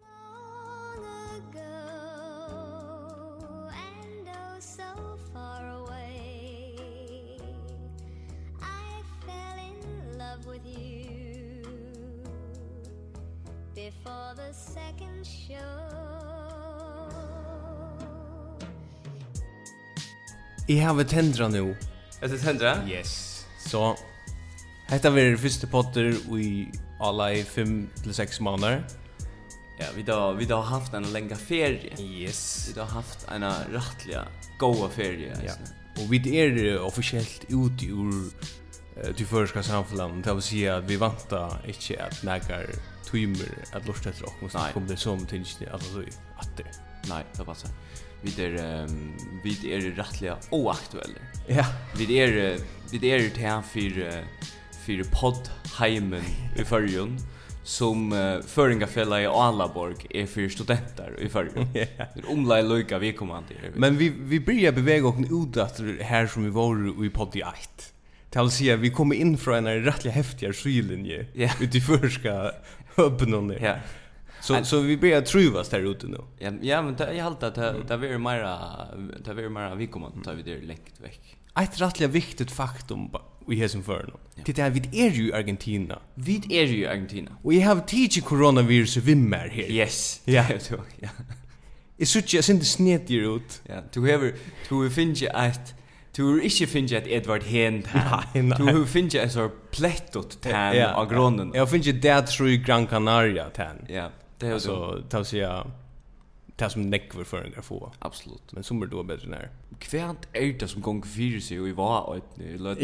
oh, before the second show Jeg har vi tendra nu. Er det tendra? Yes. Så, hetta verður fyrste potter i alla i 5-6 månader. Ja, vi då vi då har haft en länga ferie. Vi Yes. då har haft en rättliga goa ferie. Ja. eisne. Og vi er eh, offisielt ute ur uh, til føreska samfunnet, det vil si at vi vanta ikkje at nekar timer at lort etter okkur, så Nei. kom det som tingene at det er atter. Nej, det passar. Vi är um, vi är rättliga oaktuella. Ja. Vi är eh, vi är det här för eh, för podd heimen i förrjun som uh, föringafälla i Alaborg är för studenter i förrjun. Ja. Det är omlai lojka vi kommer an till. Men vi, vi byrjar bevega okkur ut etter her som vi var i poddi 1. Det vil si at vi kommer inn fra en rettelig heftigare sylinje Ja. ut i føreska høpnån ja. Så, så vi börjar truvas där ute nu. Ja, ja, men det, jag håller att det det är mera det är mera vi kommer att ta er vi det längt veck. Ett rättliga viktigt faktum ba- i hesen för nu. Det är att vi är ju i Argentina. Vi är er ju i Argentina. Och jag har tidigt coronavirus i vimmer här. Yes. Ja. du, ja. Jag sitter jag syns snett ger ut. Ja, du hever du finns ju att du har inte finns ett Edward Hen här. Nei, nei. Du har finns ett så plättot tan av grunden. Jag finns ju där tror i Gran Canaria tän. Ja, det är så Alltså ta sig jag ta som neckver för en få. absolut. Men som är då bättre när. Kvärt är det som gång fyra sig och i var ett löt.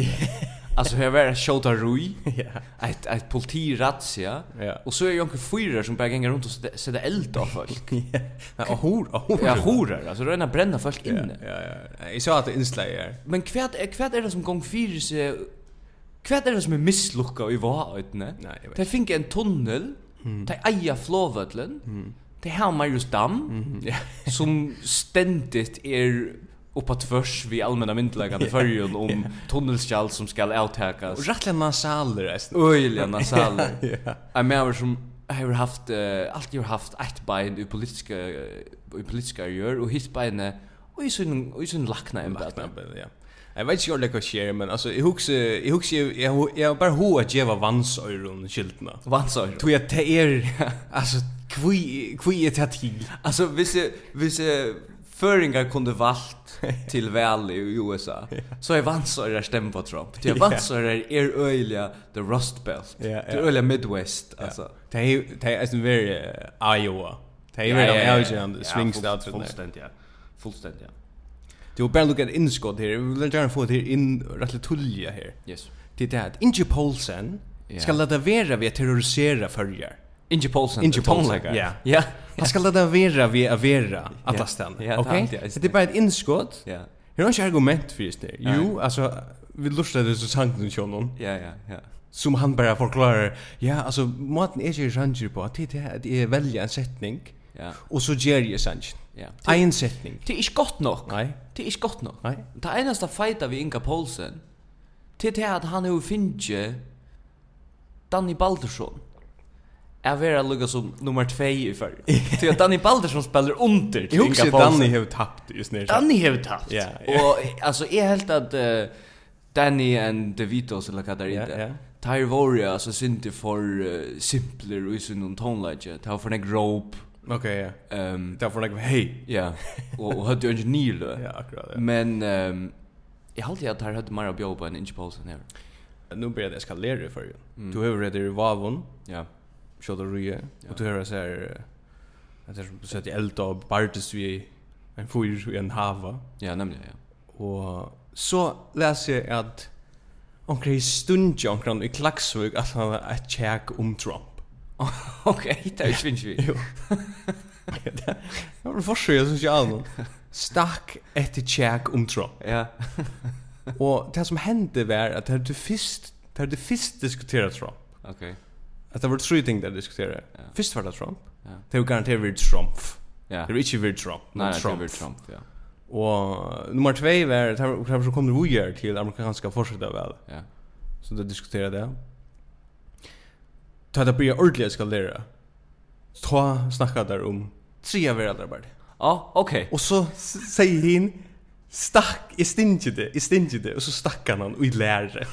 Alltså här var Shota Rui. Ja. Ett ett politirazzia. Ja. Och så är ju onkel fyra som bara gänger runt och sätter- sätter eld av folk. Ja, hor, hor. Ja, horar, alltså röna bränna folk Ja, inne. ja, ja. Jag sa att det inslag är. Men kvärt kvärt är er det som gång fyra sig Kvärt är er det som är misslucka och i var ötne? Nej, jag vet. De fick en tunnel. Mm. De eier flåvøtlen. De har Marius Mm, Dam, som ständigt er oppa tvörs vid allmänna myndelagande yeah. förrjun om yeah. tunnelskjall som um skal avtäkas. Och rättliga nasaler resten. Öjliga nasaler. Ja. Jag menar som har haft, uh, alltid har haft ett bein i politiska, i politiska gör och hitt beinet och i sin, och i sin lackna er en bättre. Knappen, ja. Jeg vet ikke ordentlig hva skjer, men altså, jeg husker, jeg husker, jeg har- jeg har bare hva at jeg var vansøyren skiltene. Vansar. Tog jeg til er, altså, hva er det til? Alltså hvis jag- hvis jag föringar kunde valt till väl i USA så är vansörer stämma på Trump. er Det är vansörer är öjliga the rust belt. Ja, ja. Det är öjliga midwest alltså. Det er, det er en veri Iowa. Det er Ja, veri ja, ja, ja. en avgjørende svingstat. Fullständigt. ja. Fullständigt. ja. Du har bare lukket innskott her, vi vil gjerne få det her inn, rett og tullige her. Yes. Det er det at Inge Poulsen Ja. skal lade være ved å terrorisere følger. Inge Paulsen. Inge the tall Paulsen, guy. ja. Ja. Han skal lade være ved å være alle stedene, Ja, det er ok? alltid, ja. Det er bare et innskott, Ja. Her er ikke argument for just det. Jo, altså, vi lustar det så sankt den sjånen, Ja, ja, ja. som han bare forklarer, ja, altså, måten er ikke ranger på, at det er at jeg velger en setning, Ja. og så gjør jeg sankt. Ja. En setning. Det er är inte gott nog. Nei. Det er är inte gott nog. Nei. Det eneste fighta vi Inga Paulsen til det at han har finnje Danny Baldersson er vera lukka som nummer 2 i fyrr. Til at Danny Baldersson spiller under Jeg til Inga husker Paulsen. Danny har tapt just nere. Danny har tapt. Ja, ja. Og altså, jeg helt at eh, Danny and DeVitos, eller hva der Ja, er det, ja. tar våre, altså, synte for uh, simpler og i sin tonelage, tar er for nek rope, Ok, ja. um, Derfor er det, hei. ja, og, og hødde jo ikke nylø. Ja, akkurat, ja. Men ehm jag håller jag tar hade Mario Björn på en inch pulse här. Nu börjar det eskalera för ju. Du har redan i Vavon, Mm. Ja. Kjota Ruje, og du hører så her, at det er som eh, sett i elda og bartes vi en fyr i en hava. Ja, nämligen ja. Og så leser jeg at onker i stundje onker i Klagsvøk at han har et tjekk om um Trump. Okej, det är ju vi. Det var forskjell som ikke annen. Stakk etter tjekk om Trump. Ja. Og det som hendte var at det er det fyrst, det er det fyrst diskuteret Trump. Okej. At det var tre ting der diskuteret. Ja. Fyrst var det Trump. Ja. Det var garantert vært Trump. Ja. Det var ikke vært Trump. men Nej, det er är Trump, ja. Og eh, nummer tvei var det var det som kom det vujer til amerikanska forsøkta vel. Ja. Så det diskuterar det. Ta det blir ordentligt ska lära. Ta snacka där om tre världar bara. Ja, okej. Och så s- säger han stack i stingide, i stingide och så stackar han och i lärare.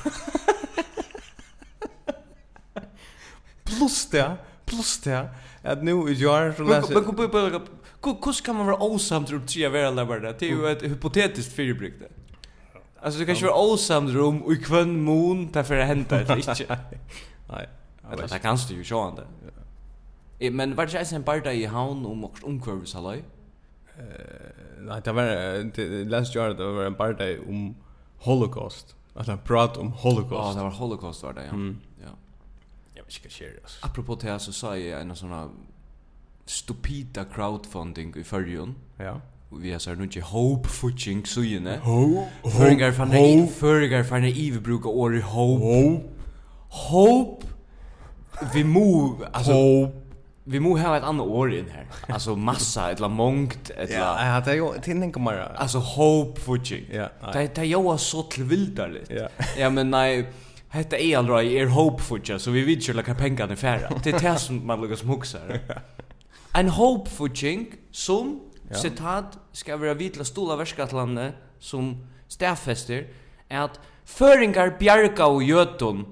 plus det, plus det at nu i jar så Men läser men kom på på hur kan man vara osamt runt tre vera lävare? Det er är ju ett hypotetiskt fyrbrykt. Alltså du kan ju vara osamt rum och i kvön mån därför det er händer det inte. Nej. Eller det kan du ju se ändå. Eh, Men var det inte en parta i havn om också omkvarvsalaj? Nej, det var eh, det- last year det var en party om Holocaust. Att han pratade om Ja, Holocaust. Mm. det var holocaust var det, ja. ja. Jag vet inte vad det är. Apropå det här så sa jag en sån här stupida crowdfunding i förrjun. Ja. Och vi har så här nu inte hope fucking sujene. Ho, Føringar fannar i ho, føringar fannar i vi brukar ordet hope. ho, Hope. Vi må alltså ho. vi må ha ett annat ord in här. Alltså massa eller mångt eller Ja, det är ju till en kamera. alltså hope fucking. Ja, nej. Det det jag så till vildarligt. Ja. Ja men nej Hetta er aldrei er hope future, så vi vet ikke hva pengene er færre. Det er det som man lukkar som hukser. En hope future som, Ja. sitat, skal være vidla stola verskatlandet som stafester, er at føringar bjarga og jötun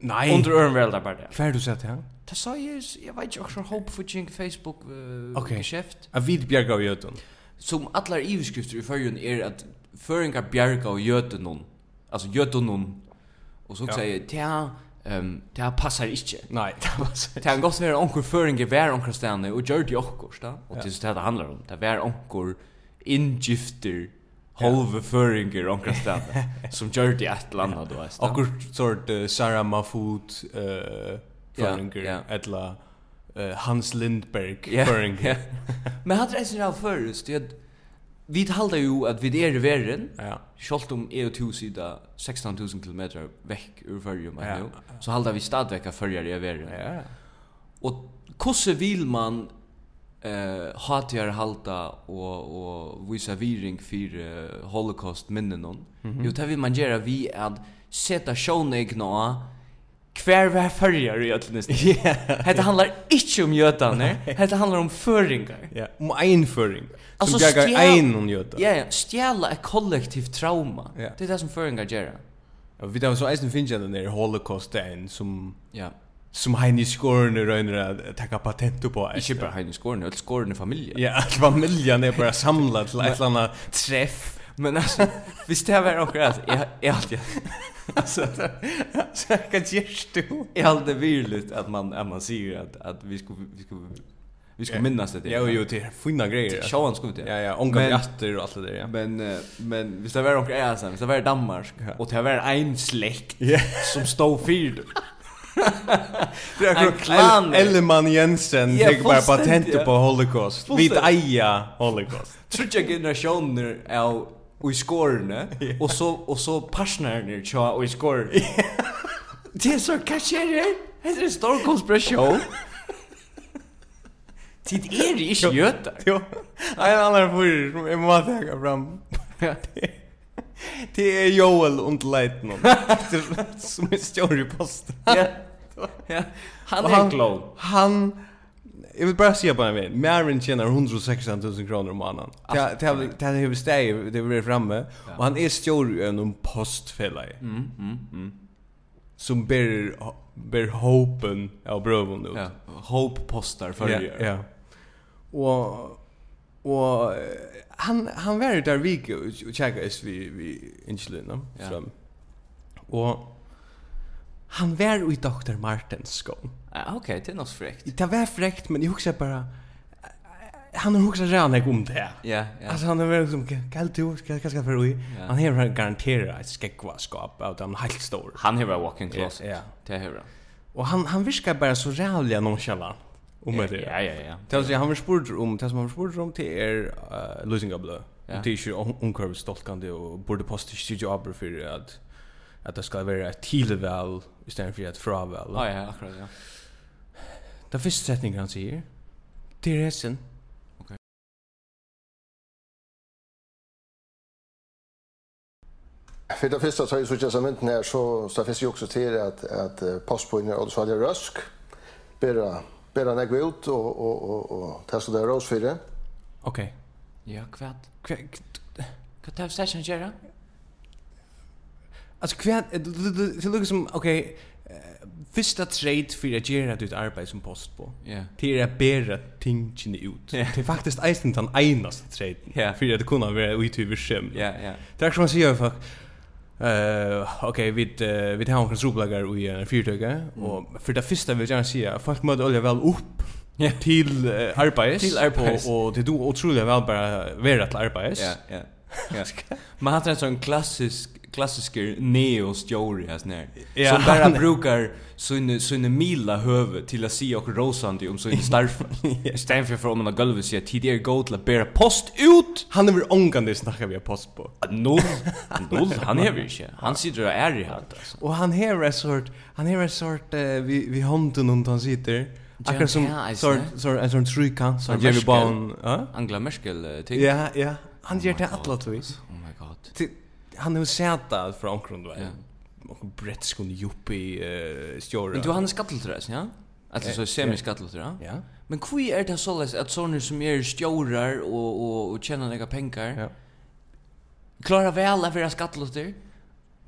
Nej. under ørenverelda bare det. Hva er du sett her? Det sa jeg, jeg vet ikke hva hope future eh, Okej. Facebook-geskjeft, A vid bjerg av jötun. som allar iverskrifter i førjun er at føringar bjarga og jötunun, altså jötunun, og så Ja. sier jeg, tja, um, tja passar ikkje. Nej, det var så. Det kan godt være onkur føringer vær onkur stedene og gjør det okkur, da. Og det er så det det handler om. Det er onkur inngifter, halve føringer onkur stedene, som gjør det et eller annet, du veist. da. Akkur sort eh, Sarah Mahfoud eh ja. Föringer etla eh, Hans Lindberg Ja, ja. Föringer. Men hadde reisner av først, det er at vi halda jo at vi er i verden, Ja. Sjalt om EU 2 sida 16.000 km vekk ur fyrjum Ja. ja. så halda vi stadvekka fyrjar i verden. Ja. Och kosse vill man eh hatjar halta och och visa viring för eh, holocaust minnen någon. Mhm. Jo det vill man göra vi att sätta sjönägna av kvar var förjar i öllnäst. Det handlar inte om jötarna, det handlar um om föringar. Ja, om ein föring. Alltså, Som bjergar stjäl- ein um om jötun. Ja, ja, stjäla ett kollektivt trauma. er Ja. Det är det som föringar gör. Ja, vi tar så eisen finns jag den där holocaust den som Ja. som Heinrich Skorne rönner att ta patent på. Ikke bare henne i skåren, eller skåren i familjen. Ja, att familjen är er bara samlad till ett eller annat Träff. Men alltså, visst det här var också alltså, jag, jag, jag, alltså. Så jag kan ge stu. Jag hade virligt att man att man säger att att vi ska vi ska vi ska minnas det. Ja, jo, det är fina grejer. alltså. Showan skulle det. Ja, ja, ongar er Men- jatter och allt det där, ja. Men eh, men visst det var onkel Elsa, visst det var Danmark Ja. och det var en släkt Ja. som stod fyrd. Det är En klan. klart. Elleman Jensen Ja, tek bara fullständigt, ja. patent på Holocaust. Vi Fullständigt. eja Holocaust. Tror jag generationer av och i skårene och så och så partnern tja och i skåren. Det är så kanske är det. Det är en stor konspiration. Tid är det inte jötar. Jo. En annan er fyrir som jag måste haka fram. Det är Joel und er Leitnon. Som är stor i posten. Ja. Ja. er Han Och är en clown. Han Jag vill bara säga på en vän. Maren tjänar 116 000 kronor om månaden. Det här- det här- det här är hur steg det blir framme. Och han är stor i en postfälla. Mm, mm, mm. Som ber, ber hopen av brövun ut. Ja. Hope postar för Ja, det. ja. Och och eh, han han var ju där vik och checkades vi vi insulin Ja. så. Och han var i Dr. Martens skån. Ah, Okej, det är något fräckt. Det var fräckt men jag huxar bara eh, han har huxat redan jag om det. Ja, ja. Alltså han har varit som kallt du ska ska ska för oj. Ja. Han har garanterat ett skäckvaskap av den helt stor. han har walk in closet. Ja. Det har han. Och han han viskar bara så jävla nonchalant um om det. Ja, ja, ja. Det vill säga han var spurt om det som han var spurt om till er uh, losing up blå. Ja. Det är ju onkurv stolkande och borde posta sig jobber för att att det ska vara ett tillval istället för ett fraval. Ja, Ah, ja, akkurat, ja. Den första sättningen han säger det är resen. Okej. För det första så har ju så testamenten här så så finns ju också till det att att eh, passpoängen och så hade jag rösk. Bära bära när gå ut och och och och testa det rös för det. Okej. er Ja, kvad. Kvad. Kan ta session göra? Alltså kvad det er lukar som okej första trade för att göra ditt arbete som post på. Ja. Det er är att bära tingene ut. Ja. Det er är faktiskt eisen den enaste trade. Ja. För att kunna vara ute i vischem. Ja, ja. Det er är som man säger fuck. Eh okej vi eh, vi har några sopläggar i en fyrtöga Mm. och för det första vill jag säga att folk måste olja väl upp Ja. till uh, arbetet Til arbeids. och, och det då otroligt väl bara vara till arbetet. Ja, ja. Ja. Man har en sån klassisk klassisker neo story här snär. Ja. Som bara brukar sån sån mila höve till att se och rosande om sån starf. Stand för från en golv så att det går till att bära post ut. Han är ångande snackar vi post på. Noll. Noll han är väl inte. Han sitter och är i hand alltså. Och han här är sort han här är sort eh, vi vi hunden och han sitter. Akkurat som Ja, eisen, sort ja. sort en sån tryckan så Sån ger vi verskal. barn, ja? Angela Merkel eh, ting. Ja, ja. Han ger my det God. alla tvis. Oh my god. Ti- Han har sett det från omkring då. Ja. Och bretsk och juppie eh stjora. Men du han är skatteltrös, ja? Alltså så semi skatteltrös. ja. Men kvi er det såleis at sånne som er stjórar og, og, og tjener nega pengar, Ja. klarar vel at vera skattelotter,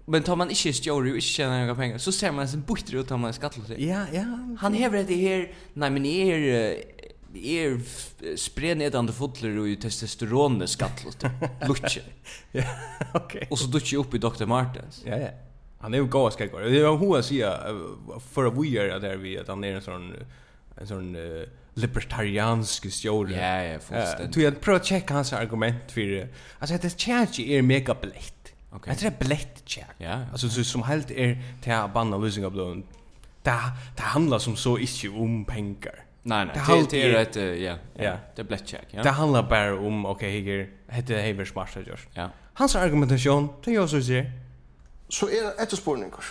men tar man ikke stjóri og ikke tjener nega pengar, så ser man sin butter ut tar man er skattelotter. Ja, ja. Han hever dette her, nei, men jeg er, eh, jeg er f- sprenedande fotler og i testosterone skattelotter, lutje. Okej. Og så dutje jeg opp i Dr. Martens. Ja, ja. Han är ju goa skäckor. Det var hur jag säger för att vi är där vi att han är en sån en sånn eh, libertariansk stjora. Ja, ja, Eh, fullstendig. Du jag prövar checka hans argument för eh, alltså att det change är mega blätt. Okej. Det är blätt check. Ja, ja. Alltså så som helt är till att banna lösning av blön. Det det handlar som så inte om pengar. Nei, Det nei, det, halter- det er et, eh, ja, ja, Ja. det er blettjekk, ja. Det handlar bara om okej, okay, heter det Haver Smart Josh. Ja, Hans argumentation, det gör så ser. så er det etterspurninger.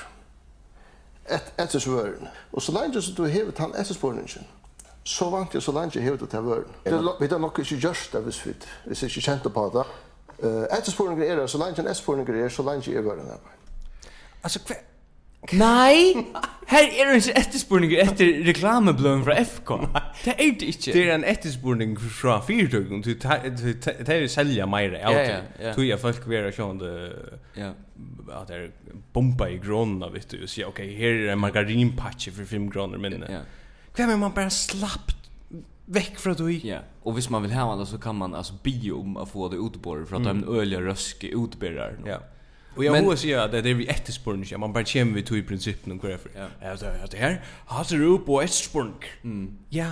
Et, etter svøren. Og så lenge som du hever til etterspurningen, så vant jeg så lenge jeg hever til vøren. Det er, lo- vi har nok ikke gjørst det hvis vi, hvis jeg ikke kjente på det. Uh, etterspurninger er det, så lenge en etterspurninger er, så lenge er vøren her. Alltså kvar Nei, her er det ikke etterspurninger etter reklamebløven fra FK. Det er det ikke. Det är en efterspurning från fyrtögen till det är sälja mer Ja, ja, ja. allt. Tror jag folk vill köra det Ja. att eh, det är bomba i gronna vet du och säga okej här är er en margarinpatch för 5 kronor men Ja. kvar men man bara slappt veck från det Ja. Och hvis man vill ha det så kan man alltså be om att få det utborrat för att de är öliga röske utbärare. ja Och jag Men- måste säga att det är vi efterspurning er ja, man bara känner vi tog i principen om kvar för Ja. ja det är det här har det upp och efterspurning Mm. ja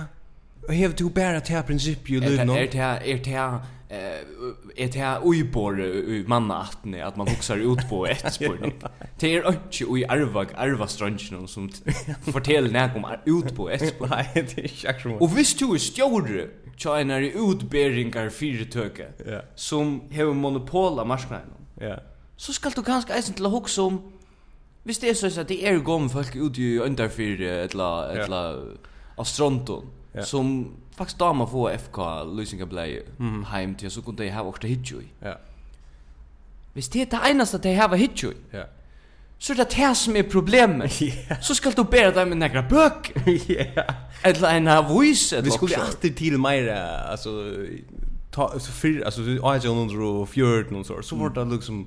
och här du bara till princip ju Är det nu är det här- är det här eh, är det här ojbor i mannaatne att man huxar ut på ett spår. Det är inte oj arvag arva stranden som fortäller när om ut på ett spår. nej det är jag tror Og hvis du er stjåre, tja en er i utberingar fyrirtøke, Ja. som hever monopol av marsknaden, ja så skal du kanskje eisen til å hoksa om, hvis det er sånn at det er gom folk ute i underfyr, eh, etla, Ja. etla, av stronton, Ja. som faktisk dama få FK løsningablei Mhm. heim til, så kunne de hava okta hitjo i. ja Hvis det er det eneste de hava hitjo i, ja så er det det som er problemet. Så skal du bæra dem med nekra bøk, ja etla en avis, etla Vi skulle okkurt. alltid till mer alltså ta så för alltså jag är under och fjord någon sort. Så vart det liksom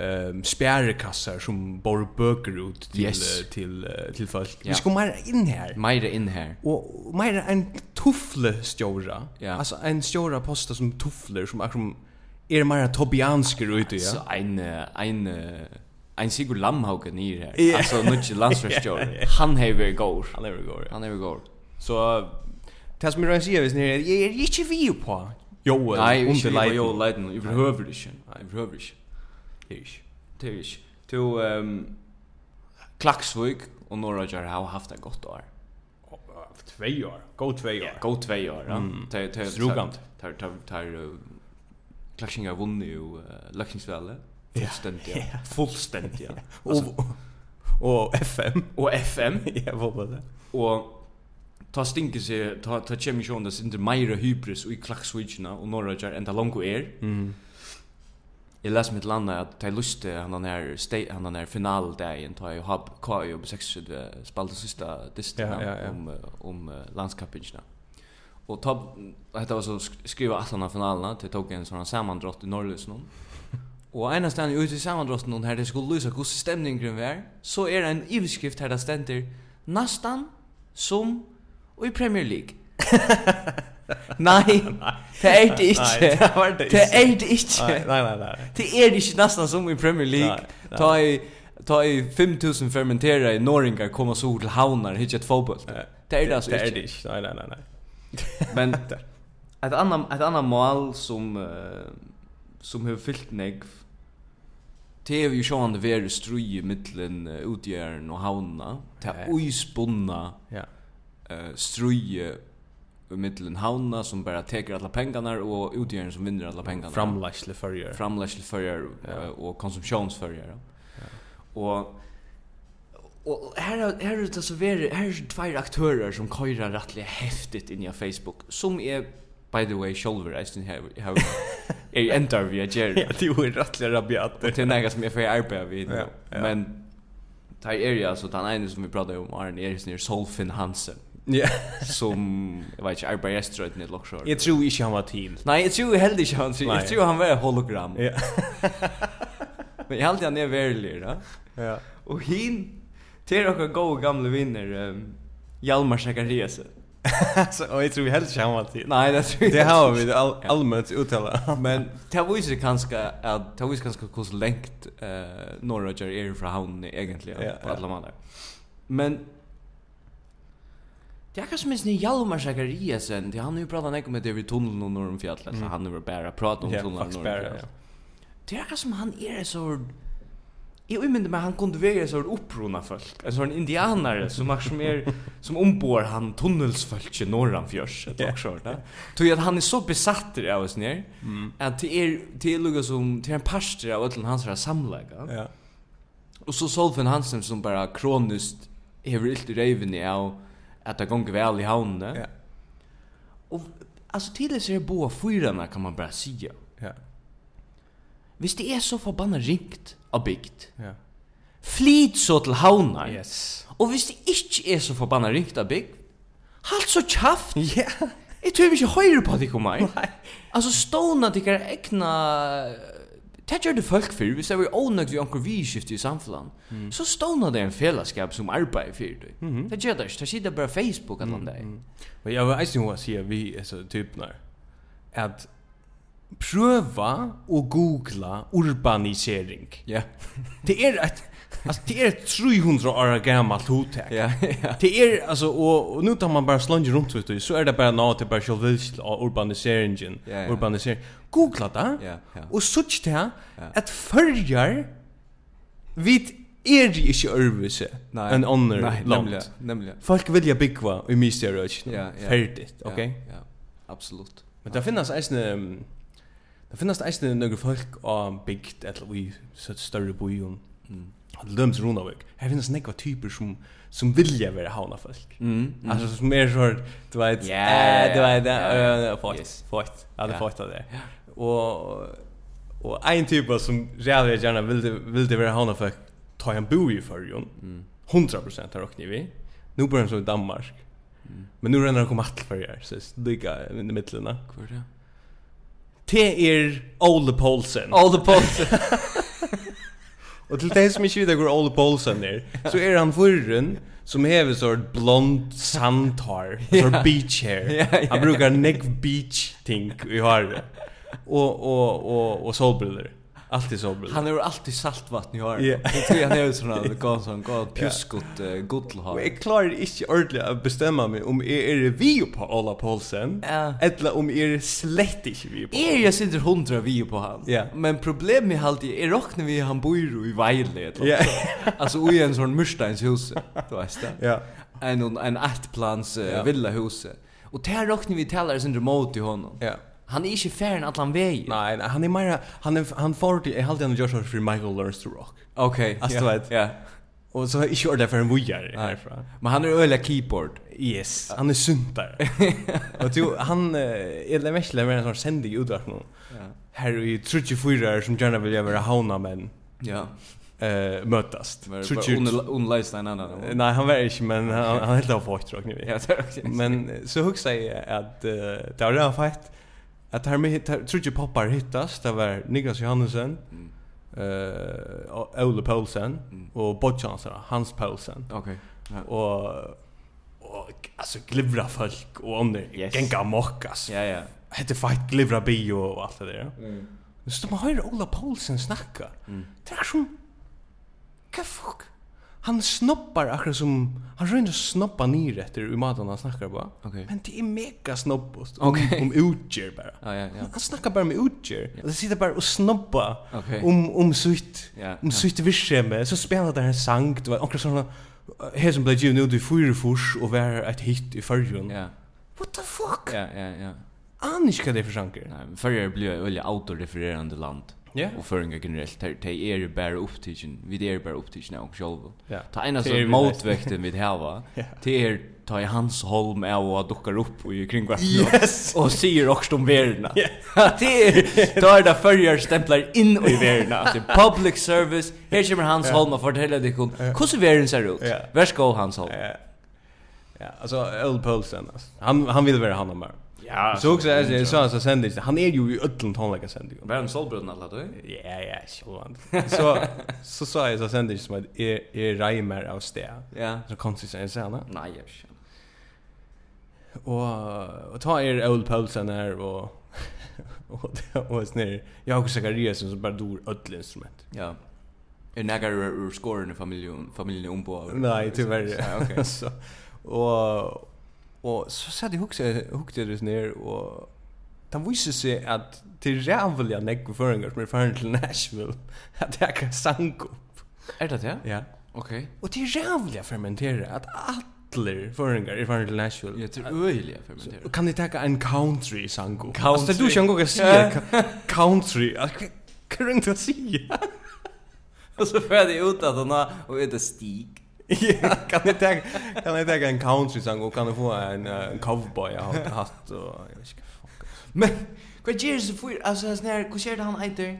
ehm spärrkassar som bara böcker ut till Yes. eh, till eh, till folk. Ja. Vi skulle mer in här. Meira inn her. Och mer en tuffle stjora. Ja. Alltså en stjora posta som tuffler som är som är mer tobiansker ute Så ja. ein eh, ein eh, ein Sigurd Lamhaugen nir her. Ja. Altså nutje landsfjørstjør. Han hever går. Han är väl går. ja. Han hever går. Så er tas mig rätt sig vis när jag är inte vi på. Jo, Nei, er under ikke vi var jo light. leiden, i behøver ikke. Nei, vi behøver ikke. Det er ikke. To um, Klaksvøk og Norrager har haft et godt år. Två år. Gå två år. Gå tvei år, ja. Det er- det er- Strugant. det er- det er- det er, eh, Klaksingar vunnet jo uh, Løkningsvelle. Fullstendig. ja. Fullstendig, ja. Altså, Och och FM. Og FM. Ja, vad var det? Og ta stinker seg, ta, ta kjemi sjån det sinter meira hybris og i klaksvitsjena og norrajar enn det lango er. Mm. Jeg les mitt landa at ta luste han han her, stay, han han her finaldagen ta i hab KI og 26 spalte sista distan Ja, ja, ja. om, eh, om uh, landskappingsjena. Og ta, dette var så sk- skriva allan av finalene, til jeg tok en sånn samandrott i Norrløsnån. Og ena stand ute i samandrosten hon her, det skulle lysa hos stemningen var, så er det en iveskrift her det stender, nastan som og i Premier League. Nei, det er det Nei, ikke. det var det Det ikke. er det ikke. Nei, nei, nei, nei. Det er ikke nästan som i Premier League. Nei, nei. Ta i ta i 5000 fermentera i norringar komma så till havnar hitcha ett fotboll. Nei. Det är det alltså Det er inte. det ikke. Nei, nei, nei, nei. Men ett annat ett annat mål som eh, som har fyllt mig Det är ju sjön det är strui i mitten utgören och eh, havna. Det Ja. är oispunna Ja. eh strui i mitten havna som bara tar alla pengarna och utgören som vinner alla pengarna Framlæsle førjer. framlegsleførjar Ja. ja. eh, og konsumtionsførjar. Ja. Og Og her er- her er det så veri, her er det tvær aktörer som køyrar rettelig heftigt inn i Facebook, som er, by the way, sjolver, jeg synes jeg har er endar vi er gjerrig, Ja, det er jo rettelig rabiat. og til nega som jeg får arbeid vi nu. Ja, ja. Men, der er ja, så den ene som vi pratar om, Arne Eriksen, er Solfin Hansen, Ja. som, jeg vet ikke, arbeid estrøyden i Loksjord. Jeg tror ikke han var til. Nei, jeg tror heller ikke han, jeg Nei. tror han var et hologram. Ja. Men jeg held han er verilig, da. Ja. Og hin, til dere gode gamle vinner, um, Hjalmar Sakariasen. Så, og jeg tror helst ikke han var til. Nei, det tror jeg Det er har vi all, Ja. allmänt uttala. Men det viser kanskje at det viser kanskje hvordan lengt uh, Norrødger er fra havnen egentlig Ja, ja, på ja. alle manner. Men det er kanskje minst ni Hjalmar Sakariasen, det er han har jo pratet nek om det vi tunnelen og norr om fjallet, så han har jo bare pratet om Mm. Ja, tunnelen og faktisk norr om bare, fjallet. Det er som han er så Jeg umyndir meg, han kunde være så opprona folk, en sånn indianare som er som er, som ombor han tunnelsfolk i norran fjörs, et Ja. yeah. oksjord, Tog at han er så besatter av oss nere, Mm. at det er, det er lukka som, det er en parster av ötlen hans her samlega. Ja. Og så Solfin Hansen som bara kronist hever illt i røyvene av at det gonger vel i havnene. Ja. Og altså tidligere så er det boa fyrarna kan man bara sige. Ja. Hvis det er så forbannet ringt av bygd, Ja. Flyt så til havnar. Ah, Yes. Og hvis det ikke er så forbanna ringt av bygg, halt så kjaft. Ja. Jeg tror ikke høyre på at de kommer. Nei. Altså, stående at de kan ekne... eh, Det gjør det folk for, hvis det var ånøgt vi anker vi skiftet i samfunnet, så stående det er en fellesskap som arbeider for det. Det gjør det ikke, det sitter bare Facebook eller annet. Men jag vet inte vad jag säger vi alltså typ när att pröva och googla urbanisering. Ja, Det är ett alltså det är ett 300 år gammalt hotell. ja, ja. Det är alltså och, och nu tar man bara slunge runt vet du så är det bara något det bara själv vill och urbaniseringen. Ja, ja. Urbanisering. Googla det. Ja, ja. Och såg det att förjar vid är det inte örvise. En annan Nei, land. nemlig, nemlig. Folk vilja byggva i mysteriet. Ja, ja. Färdigt, okej? Ja, ja. absolutt. Men det finnes eisne um, Det finnes eisne nøyre folk av bygd eller i sånn større byen Mm. Til dømt Runavik Her finnes nekva typer som som vilja være havna folk Mm, mm. Altså som er sånn Du vet Ja, eh, ja, Du vet ja, det ja, eh, ja. Fått Yes. Fått Ja det Ja. fått av det Og Og ein type som Rævlig gjerne vilde, vilde være havna folk Ta en bo i fyrjon Mm. 100% har råkni vi Nu bor han som i Danmark Mm. Men nu renner han kom att fyrjar er, Så lika i mittlena Hvor er det? Det er Ole Poulsen. All the posts. Og til deg som ikke vet hvor Ole Poulsen er, så er han forren som hever sånn blond sandhår, sånn beach hair. Ja, ja, Han brukar neck beach ting i håret. Og, og, og, og solbriller. Alltid solbriller. Han har alltid saltvatten i håret. Ja. Jag tror han er är sån där går sån går pjuskot eh, Og godlhår. jeg klarer ikke ordentlig å bestemme meg om jeg er vi på Ola Poulsen, Ja. Er eller om jeg er slett ikke vi på. Är jag sitter hundra vi på han. Ja. Men problemet er med allt är rocknar vi han bor ju i Vejle eller Ja, Alltså i en sån mursteinshus, du vet det. ja, En en eh, ett plans Ja. villa hus. Och där rocknar vi talar sin remote till honom. ja. Han er är inte färden att han väg. Nei, nei, han er mer, han er, han får til, jeg halte han gjør sånn for Michael Learns to Rock. Okej. Alltså, ja, du vet. Ja. Och så är inte ordentligt för en vujare Nej. härifrån. Men han är öliga keyboard. Yes, han är er syntare. och du, han eh, är den värsta med en sån sändig utdrag nu. Ja. Här är ju 34 som gärna vill göra hauna men Ja. eh, mötas. Men Trutje- under under en annan. Nej, han var inte, men han, han helt av fått drag nu. Ja, det är okej. Men eh, så huxar jag att eh, det var redan fett att här med tror jag poppar hittas det var Niklas Johansen Mm. eh Ole Poulsen och Bodchansar Hans Poulsen Okej. Ja. och och alltså glivra folk och under Yes. genga mockas. Ja, ja. Hette fight glivra bio och allt det där. Mm. Så man hör Ola Poulsen snacka. Mm. Det är som Hva fuck? Han snobbar akkurat som han rönner snobba ner efter hur maten han snackar på. Okej. Men det är mega snobbost Okej. om, om utger um- bara. Ja, ja, ja. Han snackar bara um med utger. Och det sitter bara och snobba Okej. om om sitt Ja, om ja. sitt virksomhet um så spelar där en sang det var onkel såna här som blev ju nu du fyra fors och var ett hit i förrjun. Ja. What the fuck? Ja, ja, ja. Anish kan det för sanger. Nej, men förr blir jag öliga autorefererande land. Ja. Och förringar generellt här till er bär upptigen. Vi er är bär upptigen och själva. Ja. Ta ena Det är så vi motväkten vid hava. Ja. Det är ta i hans holm er är och duckar upp och kring vart. Yes. Och säger också om verna. Det är ta det förr stämplar in i verna. Det är public service. Här kommer hans holm och fortäller dig hur hur världen ser ut. Ja. Varsågod hans holm. Ja. Ja, alltså Old Paulsen alltså. Han han vill vara han om. Ja. Så också är det så han så sänder det. Han är ju i ödlan tonlägga sänder. Var en solbrunn alla då? Ja, ja, självan. Så så sa jag så sänder det som att är är er, Reimer av stä. Ja. Så konstigt säger jag så Nej, jag känner. Och och ta er Old Paulsen här och och och snär. Jag och Zachariasen som bara dor ödlan instrument. Ja. Er nægar ur, ur skoren i familjen, familjen ombo? Nej, Ja, tyvärr. okej. så och och så satt jag också hukte det ner och Det visar sig att det er är jävliga nekko föringar som är föringar till Nashville att jag kan sanka upp. Er det det? Ja. Okej. Och det er är jävliga fermentera att alla föringar är föringar till er Nashville. Jeg tror øyelig fermenterer. Och kan ni ta en country sanko? Country. Alltså det er du kan gå och Ja. säga ka- country. Ah, Kan du inte säga? Og så får jeg ut at han har, og er det stig. Ja, kan ni ta kan ni ta en country sanko och kan ni få en eh, en cowboy jag har haft och jag vet inte. Men, hva gjør så fyr, altså, sånn her, hva skjer det han eiter?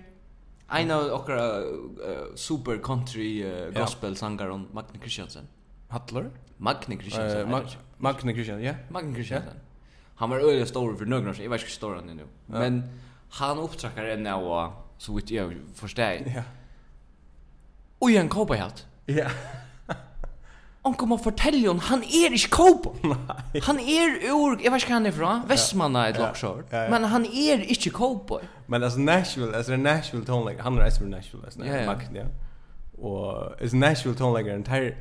Ein av okkara uh, super country uh, Ja. gospel sangaren Magne Kristiansen. Hattler? Magne Kristiansen. Eh, er det Mag- ikke? Magne Christian, ja. Magne Kristiansen. Han var øyelig stor for nøgren, så jeg vet ikke hvor stor han er nå. Men han opptrakker en av, så vidt jeg forstår, Ja. og er en cowboyhatt. Ja. Onkel må fortelle hon, han er ikke kobo. Han er ur, jeg vet ikke hva han er fra, Vestmanna et lakshår. Ja, ja. Men han er ikke kobo. Men alltså Nashville, alltså det är Nashville tonlägger, han är alltså från Nashville, alltså Ja, ja. Magne. Och is Nashville tonlägger en tar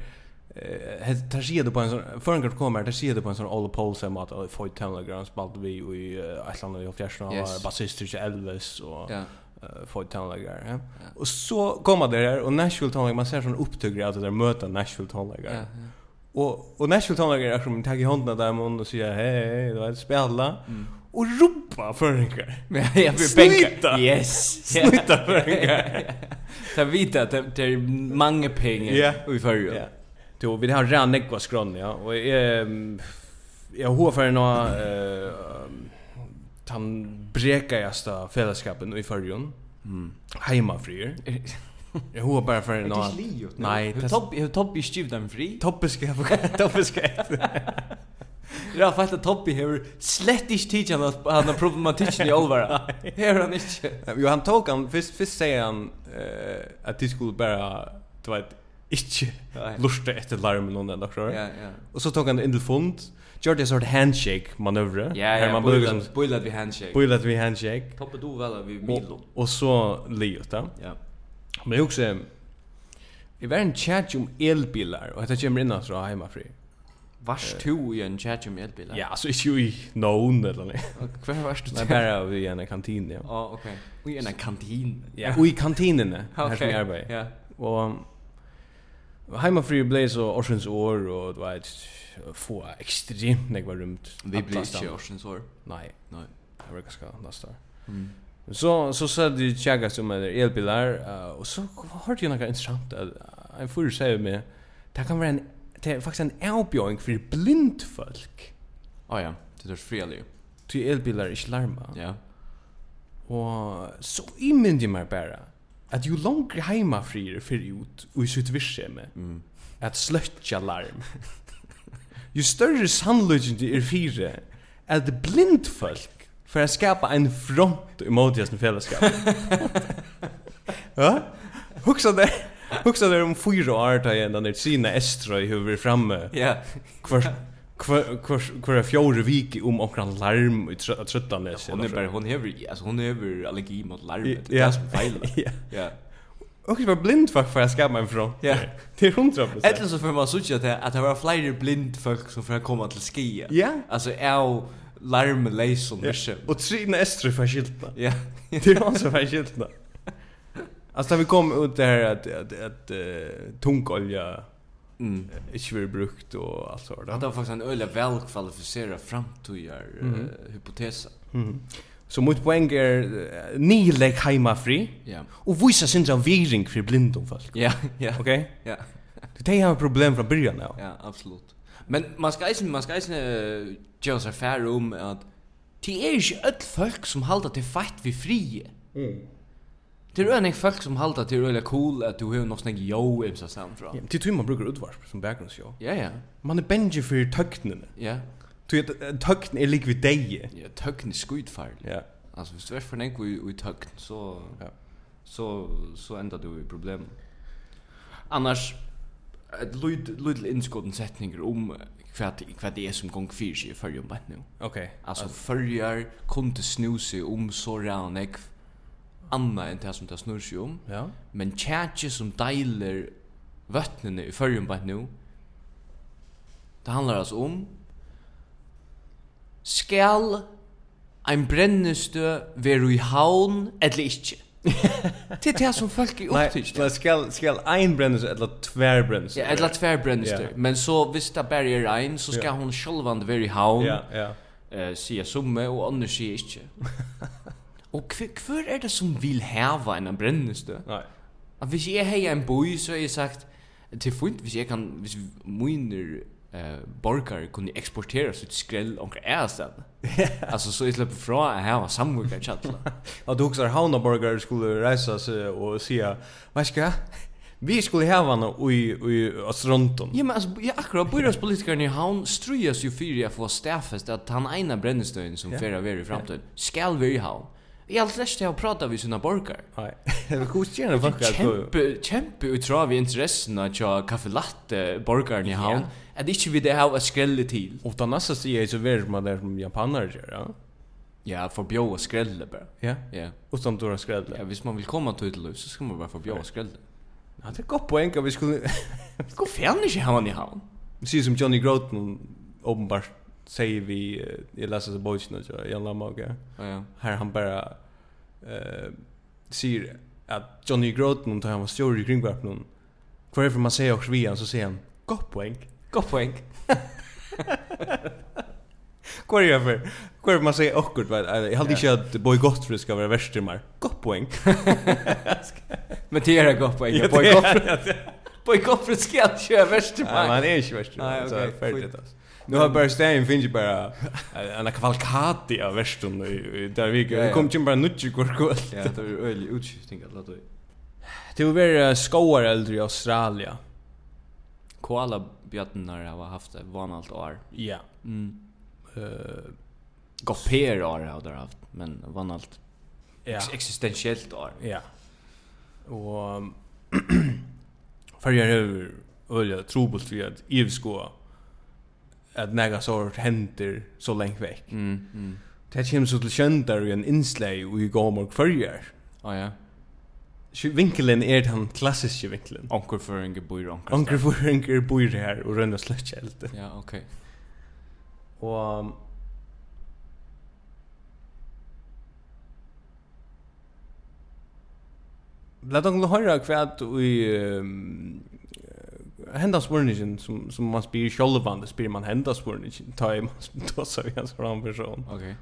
eh tar sig det på en sån förrän det kommer tar sig det på en sån all Paul som att i Foyd tonlägger han spalt vi och i Island och i Fjärsan Yes. och basist till Elvis och Ja. eh, Foyd tonlägger. Ja. Och så kommer det där och Nashville tonlägger man ser sån upptugg att det där möta Nashville tonlägger. Ja, Och och Nashville tonlägger är som tagg i handen där man och säger hej hej, det var ett spela. Mm. Och ropa förrän. Men jeg blir Snyta! benka. Yes. Ja. Snyta förrän. Ta vita at det- det er mange penger Ja. i fyrrjun. Ja. Då vi har redan nekva skron ja och ehm jag har för nå eh han breka jasta fällskapen i förrjun. Mm. Hemma frier. Jag har bara för nå. er Nej, Hur topp, hur topp i styrt dem fri? toppeska toppeska. Jag har fattat topp i hur slett inte tidigt han har problematiken i Olvara. Här har han inte. Jo han tog han först först säger han eh att det skulle bara du vet inte Nej. lusta efter larmen någon där tror Ja, jag. ja. Och så tog han det in till fond. Gjorde en sort handshake manöver. Ja, ja, man brukar som boilat- boilat vi handshake. boilat vi handshake. Toppet du väl vi Milo. Och, och så Leot ja. Ja. Men jag också i var en er chat om elbilar och det kommer innan så hemma fri. Vars to i en chat om elbilar? Ja, så är ju i någon eller något. Och Kvar vars du Nej, till? bara vi i en kantin ja. Ja, okej. Och i en kantin. Ja, och i kantinen här som Okej, jag arbetar. Ja. Och hemma fri blev så årsens år och det var ett få extremt när jag var rumt. Vi blir Alla inte stan. årsens år. Nej, Nej. det var ganska nästa. Så så sa de tjaka som är um elbilar eh, och så hörde jag något intressant att eh, en förr säger mig det kan vara en det är faktiskt en avbjöring för blind folk Ja, ja. Det är fel ju. till elbilar inte larma. Ja. Och så imyndi mig bara att ju långt hemma frir för ut och i sitt virksomhet att slötja larm. ju större sannolikheten det är fyra att er blind folk för att skapa en front emot deras fällskap. ja? Huxa det. Huxa det om fyra år ta igen när sina estra i huvud framme. Ja. Kvar kvar kvar- kvar fjorde vik om omkring um larm i trö- Trøttanes. Hon är er bara hon är alltså hon är allergi mot er larmet. Det Ja. är som fel. Ja. Ja. Och jag var blind fuck för jag ska mig ifrån. Ja. Det är 100%. Eller så får man såg att det- att det var fler blind folk som får komma till skia. Ja. Alltså är larm läs som Ja. det Och sina estra för skyltna. Ja. Det är han som är skyltna. Alltså när vi kom ut det här att att, att uh, tungolja Mm. inte blir brukt och allt sådant. Det var faktiskt en öle väl kvalificerad framtida Mhm. hypotes. Mm. Så mitt poäng är uh, nileg heimafri Ja. och visa sin viring för blindom folk. Ja, ja. Okej? Ja. Det har problem från början av. Ja, absolut. Men man ska eisen, man ska eisen uh, göra sig färre om att det är inte öll folk som halda till fight vid frie. Mm. Det är önig folk som halda till öliga cool att du har något snägg jo i sig samt från. Det tror man brukar utvarp som bakgrundsjå. Ja, ja. Man är bänge för töknen. Ja. Du vet, eh, töknen är lik vid dig. Ja, tökn är skudfarlig. Ja. Alltså, hvis du är för en i, i tökn så, Ja. så, så ändrar du i problem. Annars, ett lydel inskådden sättningar om vad, vad det är som gång fyra sig i förrjum bara nu. Okej. Alltså förjar kunde sno sig om så ränek anna än det som det snur sig om. Ja. Men tjatje som deiler vötnene i förrjun bara nu. Det handlar alltså om skal ein brennestø veru i havn eller ikkje. Det er det som folk er Nej, opptrykt. det skal skal ein brennus eller tvär brennus. Ja, eller tvær brennestø. Ja. Men så, hvis det bare er ein, så skal Ja. hon sjølvand være i havn. Ja, ja. eh sia summe og annars sia ikkje. og hver, hver er det som vil hava en brennestø? Nej. At hvis jeg heier en boi, så har jeg sagt, til fint, hvis jeg kan, hvis miner eh, borgare kunne eksportera sitt skrell omkring ærested. altså, så jeg slipper fra at hava samvurgar tjattla. Och du huxar Haunaborgar skulle resa sig och säga, vad ska Vi skulle hava han i i Astronton. ja, men altså, ja, akkurat, bøyragspolitikeren i havn strujas jo fyrir jeg få stafest at han eina brennestøyen som Ja. yeah. fyrir i framtiden, skal være i havn. Jeg har lest til å prata vi sina borgare. Nej. Det kostar ju en fucka. er Kjempe, kjempe utrav i interessen av tja kaffe latte borgaren i havn, at ikkje vi det hau a skrelle til. Och den nästa sida är så värd man där som japaner gör, ja. Ja, forbjå a skrelle bare. Ja. Ja. Och sånt då ja, skrädde. hvis man vil komma til utløp, så skal man bare forbjå a skrelle. Ja, er det går poäng att vi skulle Gå fjern ikkje havn i havn. se som Johnny Groton uppenbart säger vi eh, jag läser så boys nu så jag lämnar mig. Ja, ja. Här han bara eh säger att Johnny Groton tar han var stor i kringvarpen. Kvar är för man säger också vi han så säger han gott poäng. Godt poeng. Kvar är för kvar är för man säger också vet jag hade inte att boy Godfrey ska vara värst i mer. Gott poäng. Men det er godt poeng. Ja, På det i er- goffret. På i goffret skal jeg kjøre verste Nej, man poeng. är inte värst. Nej, Nej, okej. okej, Färdigt skit. alltså. Nu har bara Stein finns ju bara eh, en kavalkati av värstun i- i där vi Ja, det ja. kom ju bara nutch kvar kvar. Ja, det er øyelig utskifting at la du. Det var väl skoar äldre i Australien. Koala bjøttenar har haft det vanalt år. Ja. Mm. Eh Godt per år har det haft, men vanalt ja. existentiellt år. Ja. Och färger över öliga trobult vi att evskoa att näga sort händer så länge väck. Mm. Mm. Det kommer så till kändar i en inslag och i gammal färger. Ah, ja. Vinkelen är den klassiska vinkelen. Onkel för en bor i onkel. Onkel får onkel bor her og rønner sløtje helt. Ja, okej. Og um, Lat onkel høyra kvært i um, eh, henda spurningen som, som man spyr sjølvande, spyr man henda spurningen, ta i man tossa vi hans fram person. Okej.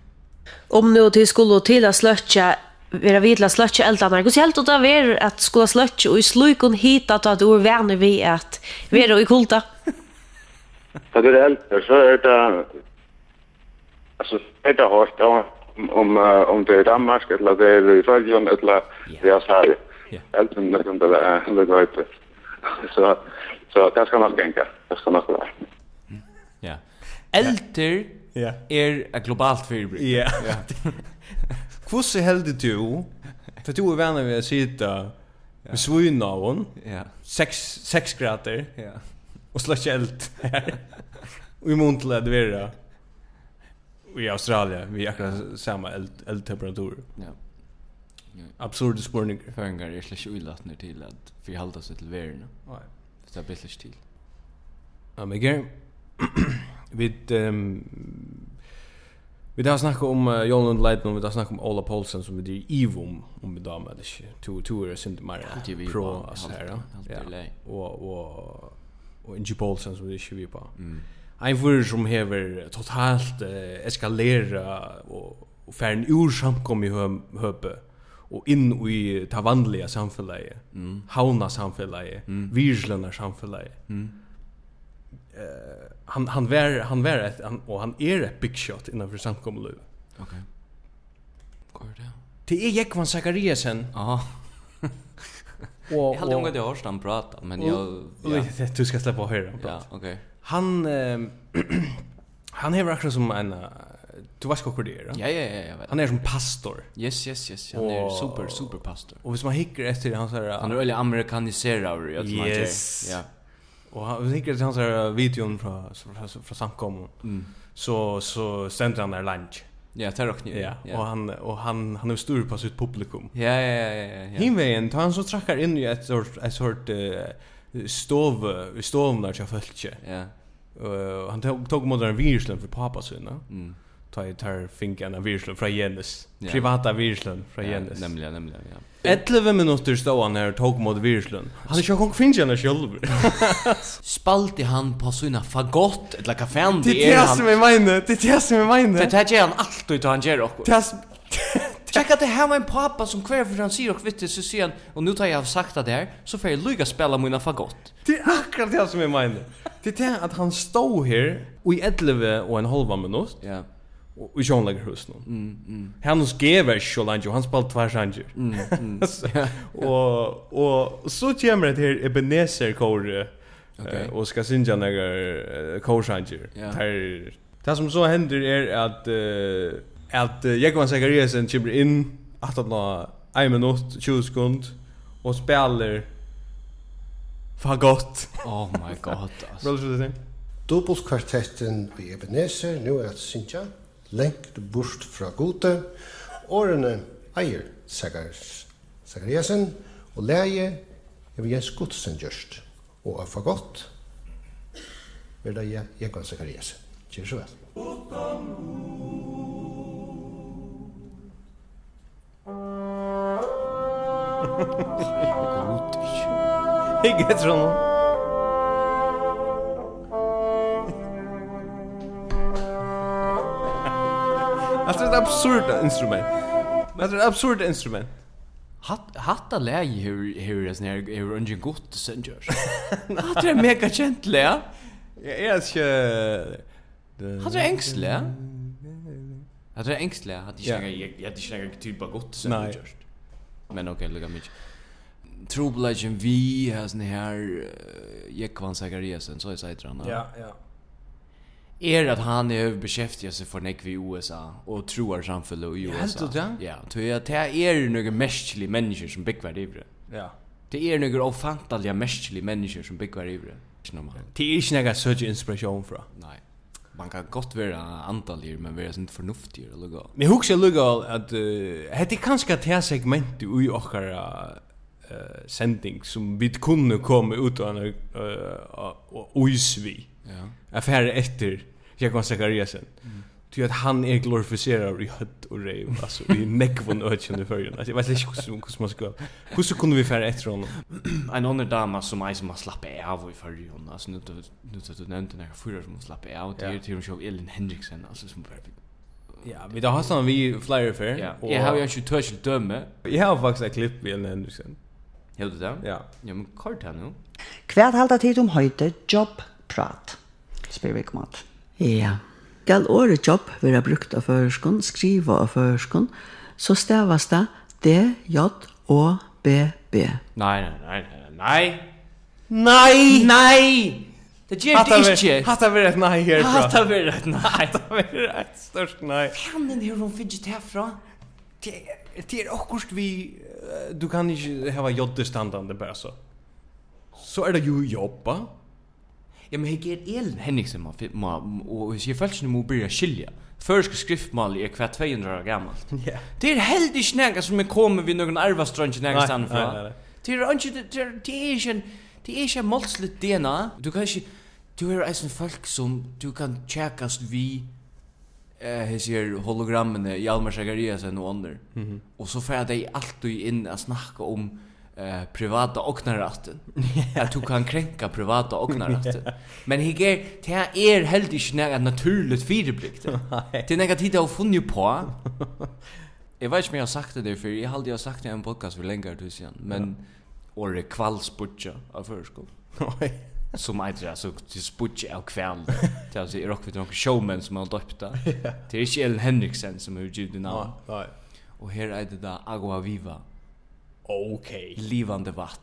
Om nu till skulle till att slötja vera vid la slötja eldarna. Hur helt det ver att skulle slötja och i slukon hit att att ur värne vi att vera i kulta. Da det er eldre, så er det altså, er det hårdt om, om, eh, om det er i Danmark, eller det er i Følgen, eller det er Sverige. Ja. Elden er som det er, det går ut. Så, så det skal nok gænge, det skal nok være. Ja. Elter Ja. er ett globalt förbruk. Ja. Hvordan heldig du, for du er venner ved å sitte Vi svina av hon. Ja. 6 6 grader Ja. och slöscha eld. Och i mån till att det är i Australien vi akkurat samma eld, eldtemperatur. Ja. Absurda spårningar. Føringar er slags uilatner til at vi halda seg til verden. Det er bittlis til. Ja, men Ger, vi ehm vi har snakkat om uh, Jon Lund Leitner, vi har snakkat om Ola Paulsen som vi driver Ivo om om vi damer eller inte. To to är synd mer Det er vi pro på, alltså halvt- här. halvt Ja. i lei. Och och och Inge Paulsen som vi driver vi på. Ein fyrir som hever totalt uh, eskalera og, og færen ur samkom i hø- høpe og inn i ta vanliga samfellet, mm. hauna samfellet, mm. virslønna samfellet. Mm. han han var han var ett han, och han är ett big shot innanför samkommet. Ok. Hva er det? Det är Jekvan Zakariasen Aha. och Jeg halda unga det har han prata, men jeg... Ja, Ja. Du ska släppa höra. ja ok. Han ehm, han hever akkurat som en eh, du vet hur det är. Ja, ja, ja, jeg vet. Han är som pastor. Yes, yes, yes. Han er Og- super, super pastor. Och hvis man hickar efter hans här Han er veldig amerikaniserar i alt som han gjør. Yes. Ja. och han hickar efter hans här videon från från, från samkommet. Mm. Så så sänder han där lunch. Ja, tar och kniv. Ja, och han och han han är stor på sitt publikum. Ja, ja, ja, ja, ja. Hinvegen, ta han så trakkar inn i et sort, et sort uh, stov, stovnar til fölkje. Ja. Uh, han tog, tog mot en virslön för pappa sina. Mm. Ta i tar finkan en virslön fra Jens. Ja. Privata virslön fra Ja, Jens. Nemlig, nemlig, ja. 11 minutter stod han her og tog mot virslön. Han er ikke kong finnes henne sjølv. Spalti han på sina fagott eller kafén Det er det som jeg mener, det er det som jeg Det mener. här gör han alltid då han gör och. Det er som- Check att det här var en pappa som kvar för han säger och vitt så ser han och nu tar jag av sakta där så får jag lyga spela mina fagott. det er akkurat det som jeg mener. Det er det at han stod her i 11 og en halva minutt Ja. och John lägger hus nu. Mm, mm. Han skrev är så långt han spalt två sanger. Mm, mm. och och så kommer det här Ebenezer eh, kor Okej. okay. och ska synja några korsanger. Ja. Där det som så händer är att uh, att uh, Jakob Sakariasen kommer in att han har en minut 20 sekund och spelar fagott. Oh my god. Alltså. Vad skulle du säga? Dobbeltkvartetten i Ebenezer, nu er at Sintja, lengt bort fra gode, årene eier Sagars, Sagariasen, og leie er Jens Godsen gjørst, og er for godt, vil det jeg, jeg kan Sagariasen. Kjør så vel. Jag heter honom. Alltså det är er ett absurda instrument. Men det är ett absurda instrument. Hatt hatta läge hur hur det snär hur ungen gott sen görs. Hatt det är mega känt lä. Jag är inte... Hatt det ängsle. Hatt det ängsle. Hatt Ja. jag jag jag snackar typ bara gott sen Nej. görs. Men okej, lugga mig. Troblagen vi har sån här eh, Jekvan Zachariasen så heter han. ja. er at han er beskjeftiga seg for nekvi i USA og troar samfunnet i USA. heldur det? Ja, tog jeg at det er noen mestlige mennesker som byggvar i det. Ja. Det er noen ofantalige mestlige mennesker som byggvar i det. Ikke noe man. Det er är inte några söt inspiration fra. Nei. Man kan godt være antallir, men være sånn fornuftig eller gå. Men jag husker lugga att uh, det är kanske det här segmentet i åkara uh, sending som vi kunde komma ut av eh, en oisvi. Ja. affärer efter Jakob Zakariasen. Ty att han är glorifierad i hött och rev alltså i neckvon öchen i förgrund. Alltså jag vet inte hur hur man ska. Hur så kunde vi färra efter honom? En annen dama som jeg som har slappet av i forrige hånd, altså nu tar du nevnte når jeg fyrer som har slappet av, det Ja. er til og med selv Elin Henriksen, alltså som bare... Ja, vi då har sån vi flyer för. Ja, jeg har jo ikke tørt til dømme. jag har faktiskt ett klipp med Ellen Henderson. Gjør du det? Ja. Ja, men kort her nå. Hvert halda um tid om høyde jobbprat, spyr vi kommet. Ja. Skal året jobb være brukt av føreskånd, skriva av føreskånd, så stavas det D-J-O-B-B. Nei, nei, nei, nei. Nei! Nei! Det gjør det ikke. Hatta vi ett nej här fra. Hatta vi rett, nei. Hatta vi ett störst nej. Fanen her hun finner det herfra. det är- det är också vi er eh, du kan inte ha jodde standande bara så. Så är det ju er jobba. Ja, men hekk er Elin Henningsen man, fi- ma, og hvis jeg følte må byrja skilja. Førske skriftmal er hver 200 år gammalt. Ja. Det er heldig ikke nega som er kommet ved noen arvastrønge nega Nei, stand nei, nei, fra. nei. Det er ikke, det er det er ikke, en- det er ikke en målslig DNA. Du kan ikke, du er eisen folk som du kan tjekkast vi eh his her hologrammene i Almar Sagariasen og andre. Og så får de alltid inn å snakke om eh privata oknaratten. Att du kan kränka privata oknaratten. Men hig er det er helt ikke nær naturligt fireblikt. Det er negativt å funne på. Jeg vet ikke om jeg har sagt det for jeg har aldri sagt det i en podcast for lenge du siden, men året kvalsputja av førskolen Nej. som eitir altså til spudje av kvæl til altså er okkur nokkur showman som har døpt det det er ikke Ellen Henriksen som har utgivet det navn Nej. og her er det da Agua Viva Okej. livande vatten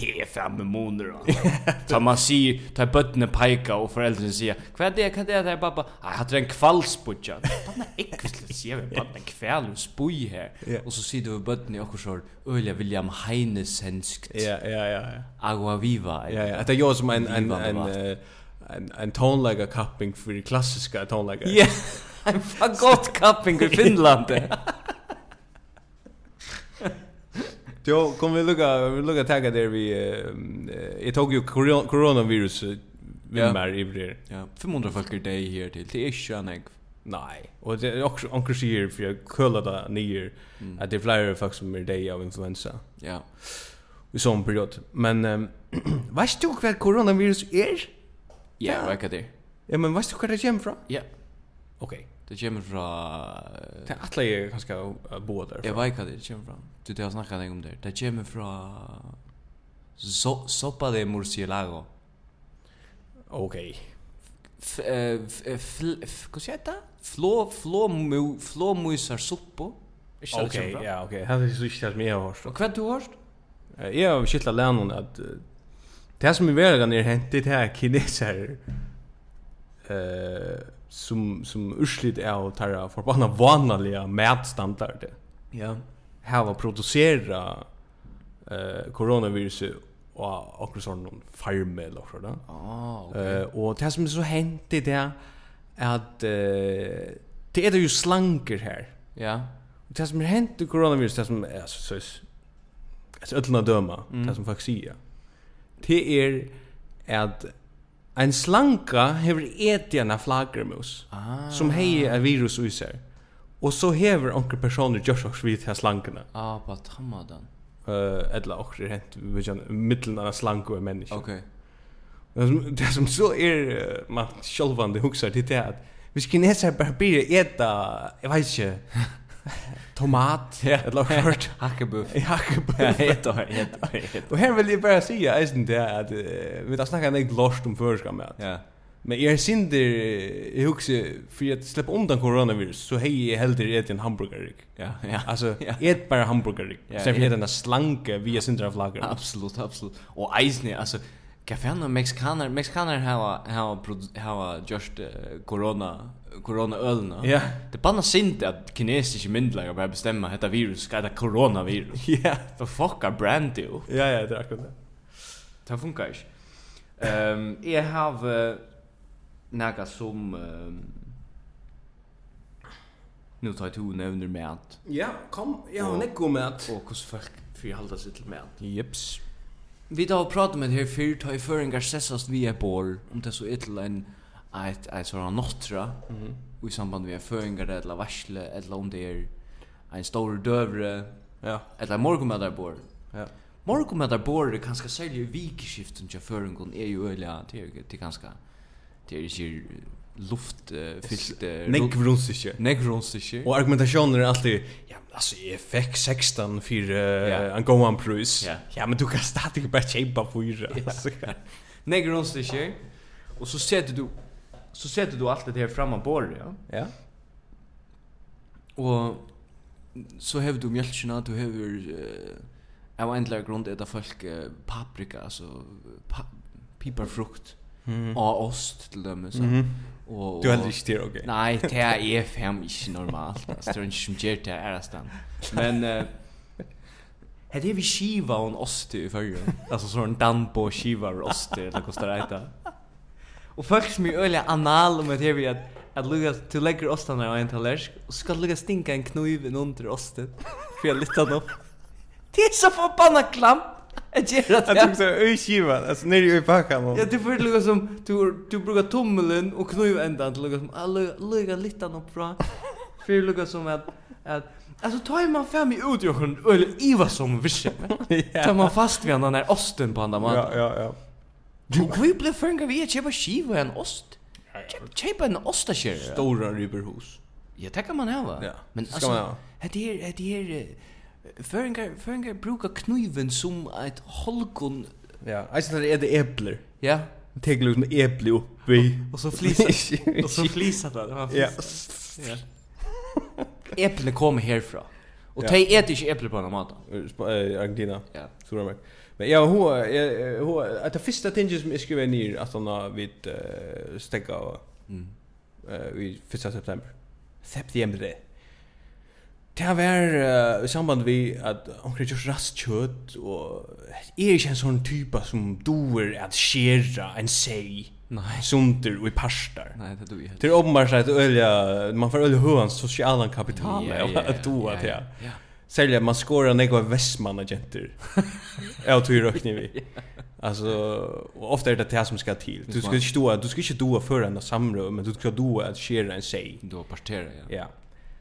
det er fem måneder da. ta man sier ta bøttene peika og foreldrene sier hva er det hva er det der pappa jeg hadde en kvalspudja banna ekkvislig sier vi banna kvæl og spui her Ja. og så sier du bøttene i okkur så Ølja William Heinesenskt Ja, ja, ja, ja. Agua Viva Ja, ja, det gör som en en Livande en vatten. eh, en en tonlager capping för det klassiska tonlager. Ja, en fan gott kapping i Finland. Jo, kom vi lukka, vi lukka tagga der vi, eh, jeg tog jo koron- coronavirus eh, Ja. vi mer i brer. ja, 500 folk er deg her til. Det er ikke en egg. Nei, og det er også anker sier, for jeg køla da nyer, at det er flere folk som er deg av influensa Ja. i sånn period. Men, um, veist du hva coronavirus er? Ja, Ja. hva er det? Ja, men veist du hva det kommer fra? Ja. Ok, Det kommer fra... det er atle jeg kanskje å bo der. Jeg vet eh, hva det er, kommer fra. Du, det har snakket deg om det. Det kommer fra... So sopa de murcielago. Ok, F eh, f eh, fl f hva sier det? Flå, flå, flå, musar suppo. Ikke det ok, det kommer fra? ja, ok, det er så ikke det som jeg har hørt. Og hva du har hørt? Eh, Jeg har skilt länen att eh, det som i världen är hänt det här kineser eh som som urslit är och tar förbanna vanliga mätstandarder. Ja. Här var producera eh coronaviruset och och sån farme eller så där. Åh, Eh och det som är så hänt det är att er eh det är det ju slanker här. ja. Og Det som er hent i coronavirus, det som er så søs, altså ødlene døma, det som folk sier, det er at en slanka hever eti en flagermus, som hei en virus i seg. Og så hever onker personer gjørs oss vidt her slankene. Ah, på tamadan. Uh, eller okker er hent, vi kjenner, middelen av en slanke og en menneske. Okej. Det som, det som så er eh, man sjølvande hugsar til det at hvis kineser bare blir eta, jeg vet ikke, tomat, eller hvert, Hackebuff. Jakobur. heter heter heter. Og her vil jeg bare si eisen det at eh, vi har snakket en lost om førskap med at Ja. men jeg er sinder, jeg husker, for jeg slipper undan coronavirus, så hei jeg heldur et en hamburgerrik. Ja, ja. Altså, Ja. et bare hamburgerrik, Ja, sen for et et- en slanke via sinder av flagger. Absolut, absolut. Och Eisne, alltså Kaffean mexikaner, mexikaner hava hava produ- hava just eh, corona corona ölna. Ja. Det er banna sint att kinesiska myndigheter bara bestämma detta virus ska heta coronavirus. Ja, För fucka brand du. ja, ja, det er akkurat det. Det funkar inte. Ehm, jag har eh, några som ehm nu tar jag to nämner med att Ja, kom, jeg har nekko med at. og hvordan folk forhalda seg til med. Jeps. Vi da har pratet med det um her fyrt, har i føringar sessast vi er bor, om det så er til en et, et sånn nottra, og i samband vi er føringar eller varsle, eller om det er en stor døvre, Ja, eller morgumedarbor. ja. Morgumedarbor er kanskje særlig i vikeskiften til føringar, er jo øyla, det er det er ganske, det er eh, ikke luftfyllt, Nekk vrunst ikke. negronstisjer. Og argumentationen är alltid ja men alltså jag fick 16 för uh, Ja. en gåan prus. Ja. Ja men du kan stadigt bara köpa fyra. Alltså. Negronstisjer. Og så setter du, så setter du alt det her fram av bordet, ja. Ja. Og så hevur du mjölkina, du hevur uh, eh, av endlar grund eta folk uh, paprika, altså pa piparfrukt. og ost til dem så. Og Du heldur ikke det, ok? Nei, det er fem ikke normalt. Altså, det er ikke som gjør det her stan. Men eh Hade vi skiva och en ost i förra. Alltså sån dambo skiva och ost eller kostar det heter. Och folk som är öliga anal om att det är att att lugga till lägger ostarna på en tallrik och så ska lugga stinka en kniv in under osten. För jag lyfter den upp. Det är så förbannat klam. Jag gör Jag tror det. så öj skiva, alltså nere i packan och Ja, du får lugga som du du brukar tummeln och kniv ända till lugga som ah, lugga- lugga lite upp bra. För lugga som att att Alltså tar man fem i ut jag kan öl Iva som visse. Tar man er fast vid den här osten på andra Ja, man. ja, ja. Du vi blir fänga vi att köpa skiva och en ost. Köp- Köpa en ostakärra. Stora riberhus. Ja, det kan man hava. Ja, Men er- det ska man alltså, hava. det här, det här, föringar, föringar brukar kniven som ett holkon, Ja, alltså det är det er äpplen. ja, Tek liksom äpple upp i. och så flisar, och så flisar det. Man Ja. flisar. Ja. Äpple kommer härifrån. Och Ja. de äter inte äpple på den här maten. Sp- eh, Argentina. Ja. Stora mark. Men ja, hon eh, hon att det första tinget som jag skrev ner att hon har vid eh, stäcka och Mm. eh i första september. September. Det var eh, i samband vi att hon krävde just rastkött och är inte en sån typ som doer att skära en sig. Nej. Sunder och i parstar. er Nej, det du ju helt. Det är uppenbart att ölja, man får ölja hur hans sociala kapital är att doa till. ja. ja. Sälja man skorar när går västmanna jenter. Jag tror ju rökning vi. Alltså och ofta är er det det här som ska till. Du ska inte stå, du ska inte doa för en samrö, men du ska doa att skära en sig. Då parterar jag. Ja.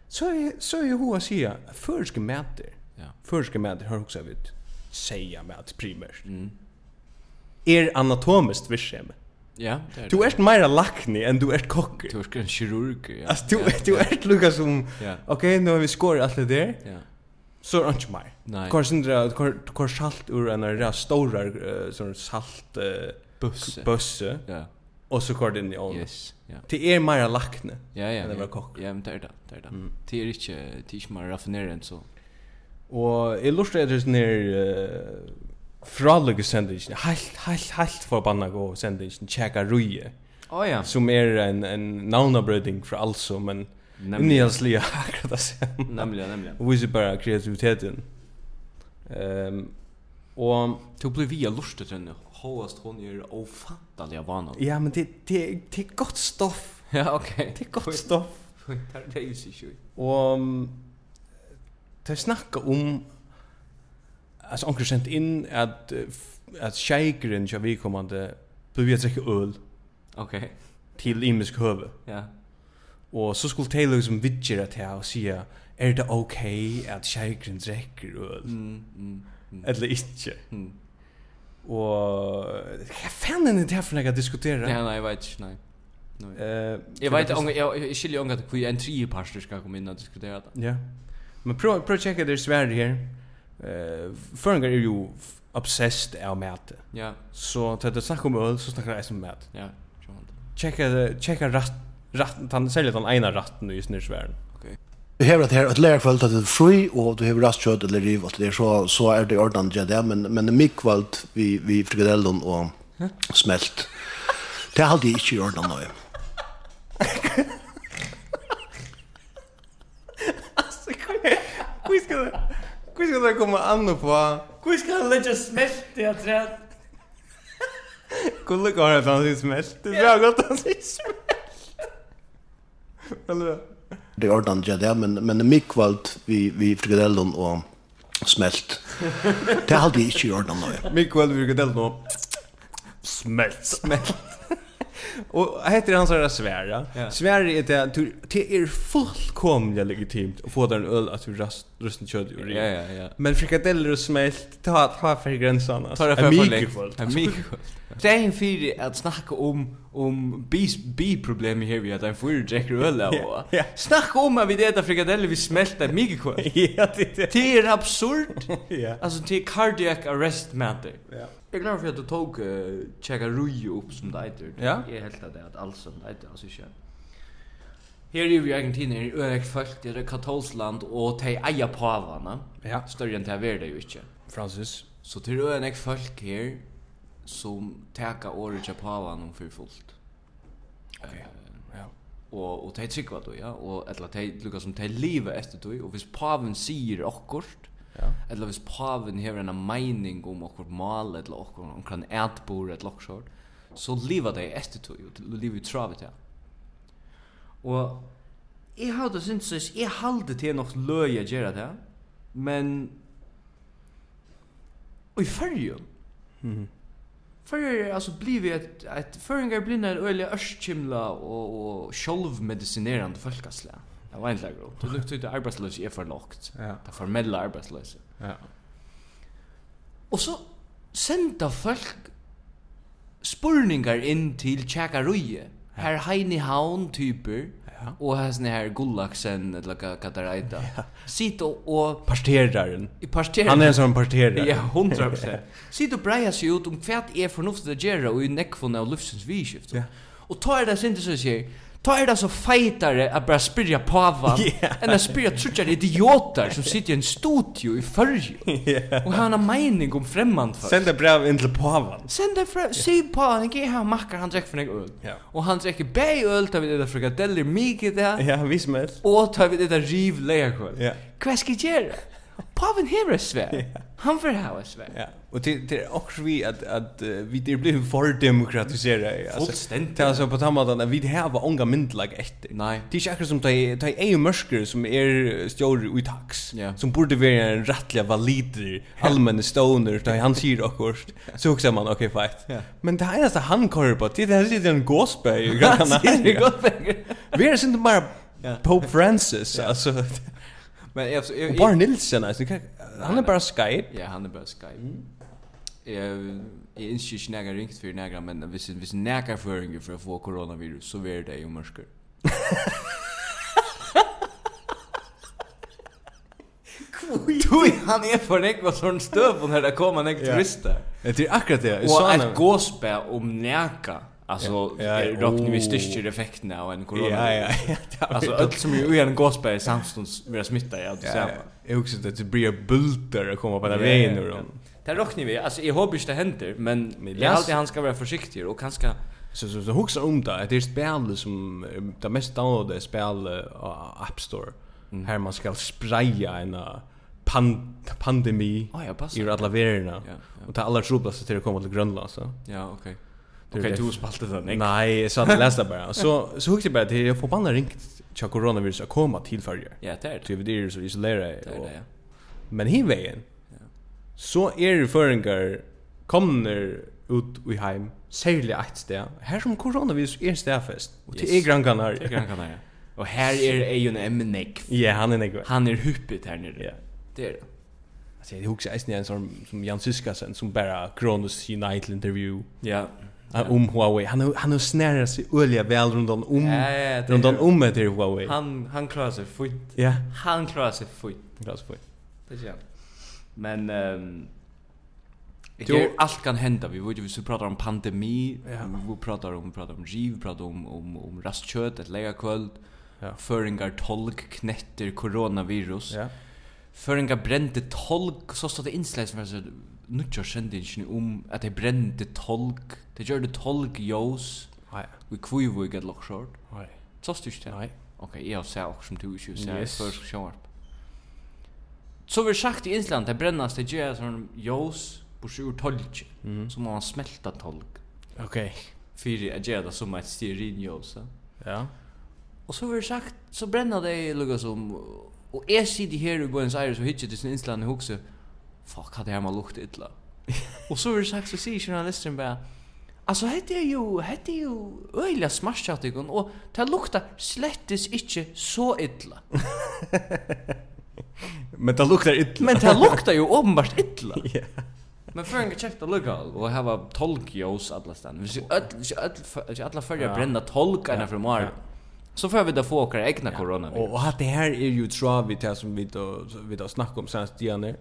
Så är så er är ju hur jag säger, förska mäter. Ja. Förska mäter har också vet säga med att primärt. Mm. Är anatomiskt Er vishem. Ja, det är Du er det. är mer lackni än du är kocker. Du är en kirurg, ja. Alltså du du är Lucas som Ja. okej nu har vi skorat allt det där Ja. så er är det inte mer. Nej. Kvar sindra kvar kvar salt ur en där stora eh, sån salt eh, Busse. busse Ja. och så kvar den i ån. Yes, ja. Det är mer lackne. Ja, ja. Men det ja. var Mm. kock. Ja, men det är det. Det er är det. Det är inte, det är inte mer raffinerat än så. Och illustrators ner eh frallige sendingen. Helt helt helt förbanna gå sendingen checka ruje Åh ja. som är en en navnabröding för alltså men Nämligen. Nilslia akkurat det samma. Nämligen, nämligen. Och visar bara kreativiteten. Ehm och Du blir via lustet den hoast hon är ofattaliga vana. ja men det det det är er gott stoff. Ja, okej. Det er är gott stoff. Det är ju så sjukt. Och um, det snackar om alltså onkel um, sent in att eh, f- att shakeren jag vi kommande blev jag dricka öl Okej. till imisk höve. Ja. Och så skulle Taylor som vidger att här och säga är det okej okay att shakeren dricker öl? Mm, mm. Eller inte. Mm. Och vad fan är det här för något att diskutera? Nej, nej, jag vet inte. Nej. Eh, Jag vet inte, jag jag skiljer inte att vi en trioparster ska komma in och diskutera det. Ja. Men prøv prøv checka det svär här. Eh, förringar är ju f- obsessed av mat. Ja, Så tar det snack om öl så snackar det om mat. ja. Sjón. Checka det- checka rätt rätt han säljer den ena ratten i sin svärn. Vi har det her, at lærkvalt at det er fri, og du har rastkjøtt eller riv, og det er så, så er det ordentlig ja, det, men, men mikvalt vi, vi frikadellen og smelt. Det er alltid ikke i ordentlig nøye. Hur ska det? Hur ska det komma an och på? Hvor skal han legge smelt i at træd? Kolla går det han sin smält. Det er är bra gott han sin smält. Eller Det er ordentlig ja, det, men, men er mikvalt vi, vi frikadellen og smelt. Det er alltid ikke i ordentlig nøye. Mikael Virgadell då. Smält. Smält. Och heter han så här svära. Ja. Svära är er det du det är fullkomligt legitimt att få den öl att du rast rusten kött och Ja, ja, ja. Men frikadeller och smält ta ta för gränserna. Ta det för En för mikrofold. länge. En mikrofold. Det är en fyr att snacka om om bis bi problem här vi att en fyr dricker öl Ja, och ja. snacka om att vi äter frikadeller vi smälter mikrofold. Ja, det är Det är absurd. det. Ja. Alltså det är cardiac arrest matter. Ja. Jag är er glad för att du tog uh, checka rui upp som det heter. Ja. Jag är helt att det är att allt som det heter alltså inte. Här är ju er i Argentina är öräkt folk, det är ett katolskt land och de äger pavarna. Ja. er Större än det här är det ju inte. Francis. Så till öen ek folk her som teka året til pavan om för fullt. Okay. Ja. Og og tei tryggva då, ja, og ella tei lukka som tei liva etter då, og hvis paven sier okkurt, Ja. Eller hvis paven hever en meining om okkur mal, eller okkur omkran etbor, eller okkur sort, så liva det etter tog, og liva i travet ja. Og jeg har det syntes, jeg halde til nok løy jeg gjerra det, men og i fyrjun, Fyrir, altså, blivi et, et føringar blindar er øyla ørskimla og, og sjolvmedisinerande folkaslega. Det var egentlig grunn. Det lukte ut at arbeidsløse er for lågt. Ja. Det formelle arbeidsløse. Ja. Og så senda folk spurningar inn til tjekkaruie. Her Heini Havn typer Ja. og hesne her Gullaksen eller hva hva det heter. Sitt og, og Parteraren. i parter. Han er är en sån parterare. Ja, 100%. Sitt og breia seg ut om hva er fornuftig å gjøre og i nekvunna og luftsens vidskift. Ja. Og ta er det sindi som jeg sier, ta er det så feitare at bare spyrja pavan Ja. enn at spyrja trutjar idiotar som sitter i en studio i fyrju og har en meining um om fremmand folk. Send ett brev in till pavan. Send det fra, si på han, ikke jeg har makkar, han drekker for nek øl. Ja. Og han drekker bæg øl, tar vi det der frikadeller, mykje det, Ja, vi smält. og tar vi det der riv leierkål. Ja. Hva skal jeg gjøre? Paven hever et svær. Han får hava et svær. Ja. er- Och det det är också vi att att eh, vi det blir för demokratiserade Fullständigt. Det är alltså er på tammadan att vi här var unga myndlag er efter. Nei. Det är inte akkurat som de de är ju mörker som är stjor i tax Ja. som borde vara en rättliga valider allmänna stoner där han säger också så också man okej okay, fight. Ja. Men det här är så han kör på det här sitter en gospel i grannar. Det er godt penger. Vi är inte bara Ja. Pope Francis alltså Men jeg, jeg, och jeg, bara Nilsson alltså det kan- han är er bara Skype. Ja, han er bare Skype. Eh, Jeg, jeg ønsker ikke nægge ringt for nægge, men hvis, hvis nægge føringer for å få koronavirus, så vil det jo mørker. Tui, han er for nekva sånn støv når det kommer nek Ja. turister. Det är akkurat det. Jag Og sa et han- gåspe om næka, altså, Ja, ja, er råkner vi oh. styrker effekten av en Ja, ja, koronavirus. ja. Altså, alt som er ui en gåspe er samstånds vil jeg smitta, ja, du Ja, ser ja. Jag husker att det blir bulter att komma på den vägen nu då. Det råknar vi. Alltså jag hoppas det händer, men jag läs- alltid han ska vara försiktig och kanske Så så så huxar om det. Det är spel som eh, det mest downloadade spel eh, på App Store. Mm. Här man ska spraya en eh, pan pandemi Ah, ja, passa. i alla världen. Ja, Och ta alla trodblåsa till att komma till Grönland så. Ja, okej. Det är Okej, det. du spalte den, nej. Nej, jag sa det läste bara. Så så huxar jag bara att jag får banna ringt till coronavirus att komma till förr. Ja, er- det är det. Till det är så isolerade. Det är det, er ja. Men hin vägen. Så är det föringar kommer ut i heim, særlig ett sted. Her som coronavirus er stedfest. Og til Yes. yes. er Gran Canaria. Det kan jag. Och här är Ejon Emnek. Ja, han er nekvar. Han är huppet här nere. Ja. Det er- är det. Alltså, jag husker eisen en sån som Jan Syskasen som bara Kronos United interview Ja. ja. om Huawei. Han har- han har snärat sig öliga väl runt om om Ja, ja, ja, det runt om är- om med det um Huawei. Han han klarar sig fint. Ja, Han klarar sig fint. glas på. Det gör han. Men ehm Jo. Jo, allt kan hända. Vi vet ju vi pratar om pandemi, Ja. vi pratar om vi pratar om giv, vi pratar om om om rastkött, ett lägarkväll. Ja. Föringar tolk knetter coronavirus. Ja. Föringar brände tolk så stod det inslag som var så nutjar sändningen om att de brände tolk. De gjorde tolk jos. Ja. Vi kvivvig ett lock short. Nej. Så styrt det. Nej. Okej, jag ser också som du inte ser Yes. för sharp. Så vi sagt i Island, det brännas det gör sån jos på sjur tolk. Så man smälta tolk. Okej. Fyra är det som ett stearinjos. Ja. Ja. Og så var det sagt, så brenner det lukka som, um, og jeg sitter her i Buenos Aires og hittir til sin innsland og hukse, fuck, hva det her må lukte illa. og så var det sagt, så sier journalisten bare, altså, hette er jo, hette er jo øyla smartchatikon, og det lukta slettes ikke så illa. Men det luktar illa. Men det lukta jo åpenbart illa. Ja. Men för en kött och lugga och hava tolkjós alla stan. Vi ser öll ikke öll ikke alla följa brända tolkarna från Mar. Så får vi då få åkra egna corona. Och och att det här är ju travigt det här som vi då vi då snackar om sen igen.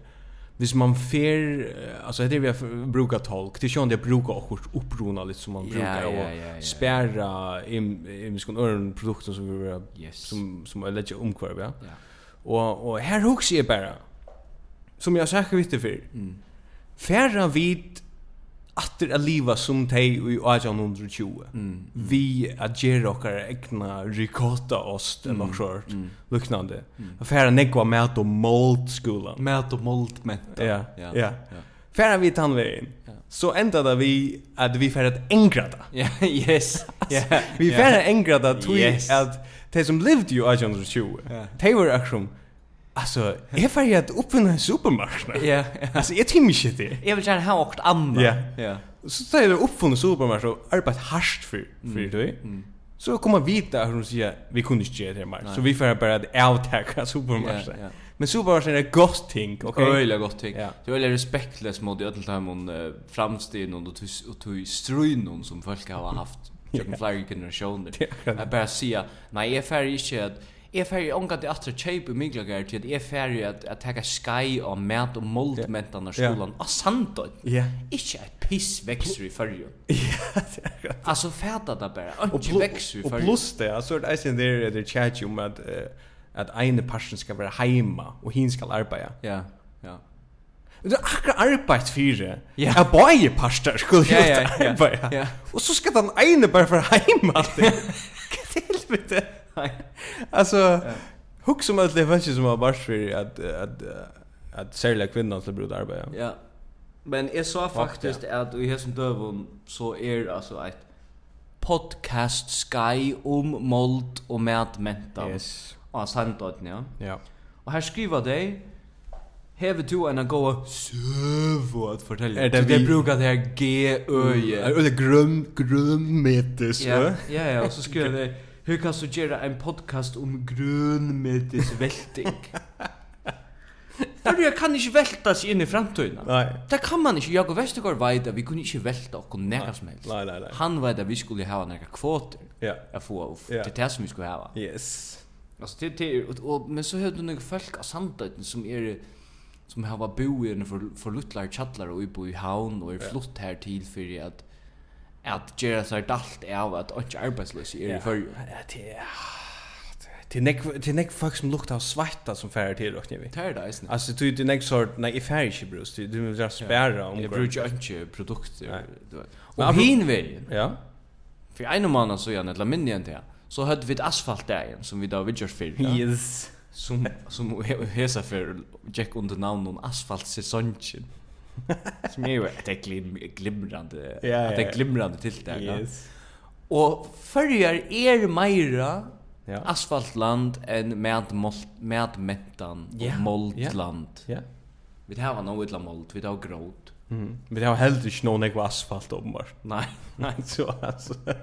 Hvis man fer eh, alltså det är det vi brukar tolk. Det känns det brukar också upprona lite som man Ja, brukar ja, och ja, ja, ja. spärra im im skon örn produkter som vi Yes. som som är lägga omkvar, ja. Ja. Och och här hooks Mm. är bara som jag säkert vet det för. Färra vid atter at liva som tei i 1820 vi at gjera okkar egna ricotta ost eller mm. sort luknande og færa negva mat og mold skolan Mät och mold mätta. ja ja færa vi tannvegin så enda det vi at vi færa at engra det Ja, yes. Ja. vi ja. færa engra det tog Yes. at de som levde i 1820 de var akkurat Alltså, jag färg att uppfinna en supermarknad. Ja. Alltså, jag timmar inte det. Jag vill gärna ha åkt annat. Ja. Ja. Så tar jag uppfunnen supermarknad och arbetat harst för, för det. Så kommer vi vita hur de säger vi kunde inte göra det här. Så vi får bara att outtacka supermarknaden. Ja, ja. Men supermarknaden är gott ting, okej? Okay. Öjla gott er ting. Ja. Det är öjla respektlöst mot i ödeltamon uh, framstiden och tog, och tog ströjnon som folk har haft genom Ja. flera generationer. Ja, akkurat. Jag bara säga, nej jag färger inte att Jag färger ångat i attra tjejp i mygglagar till att jag färger att, att taka skai og mat og moldmentan av Ja. skolan. Ja. Ah, santon! Ja. Ikke et piss vekser i fyrrjun. Ja, det er akkurat. Altså, fæta det bare. Och Ikke vekser plus, i och fyrrjun. plus det, alltså det är sen där det chat om att eh, att ene person ska vara hemma och hin ska arbeta. Ja, ja. Det är akkurat arbet fyra. Ja. Ja. Bägge parter skulle ju Ja, ja, ja. arbeta. Ja. Och så ska den ene bara vara hemma. Helvete. Nei. Alltså hooks som att det fanns som har bara för att att att sälja kvinnan till brud arbeta. Ja. Men jeg så faktisk at i hesen døvun så er altså et podcast sky om mold og matmentan. Yes. Og sandodden, ja. Ja. Og her skriver de Hever du en gå og søv at fortelle. Er det Så de vi- Mm. Er bruker det her G-øye. Är det grön grön metes. Ja, ja, ja, og så skriver det Hur kan du göra en podcast om grönmetes välting? För jag kan inte välta sig in i framtiden. Nej. Det kan man inte. Jag och Vestergaard vet att vi kunde inte välta och nära som helst. Nej, nej, nej. Han vet att vi skulle ha några kvoter Ja. att få och Ja. till det som vi skulle ha. Yes. Alltså det det och, och men så hörde några folk av samtiden som är som har varit bo i för för luttlar chatlar och bo i havn och är flott här till för att att göra sig dalt av att inte arbetslös är er i för ah, Till neck till neck folk som luktar av svarta som färger till och knivig. tär där isn't Alltså du till neck sort nej i färg i bröst. Du du vill spärra om. Jag brukar inte produkter. du vet. Men Och apro- hinvägen. Ja. För en man så jag eller minne inte jag. Så hade vi ett asfaltdagen som vi då vid just för. ja. Yes. Som som he- hesa för Jack under namn någon asfalt säsongen. Som är ju ett er glim, er glimrande. Ja, ja, att ja. det glimrande till där. Yes. Och förjar er meira Ja. asfaltland än med med mättan Ja, ja. och moldland. Ja. Vi har någon utland mold, vi har gråt. Mm. Men det har helt inte någon ekva asfalt om bara. Nej, nej. så alltså. Är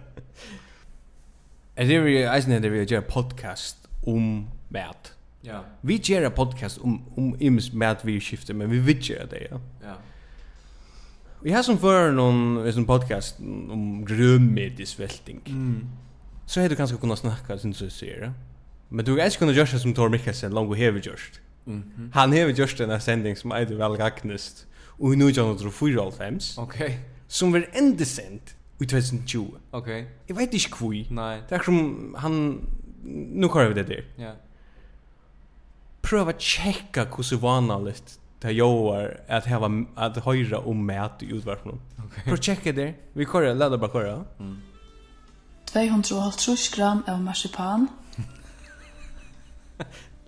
Er det vi eisen det vi gör podcast om mat. Ja, Vi gör podcast om om ims mat vi skiftar men vi vill göra det ja. ja. Vi har som för någon sån podcast um om grönmedisvälting. Mm. Så hade du kanske kunnat snacka sen så ser det. Men du är inte kunna göra det som Tor Mikkelsen långt och hever gjort. Mm. Han hever gjort den här sändning som är väl gagnest. Och nu är han 4.5 Okej. som var enda sänd i 2020. Okej. Jag vet inte hur. Nej. Det är som han... Nu kör vi det där. Ja. Pröva att checka hur så vanligt det gör att ha att höra om um mat i utvarpen. Okay. Pröva att checka det. Vi kör det. bara köra. 250 gram av marsipan,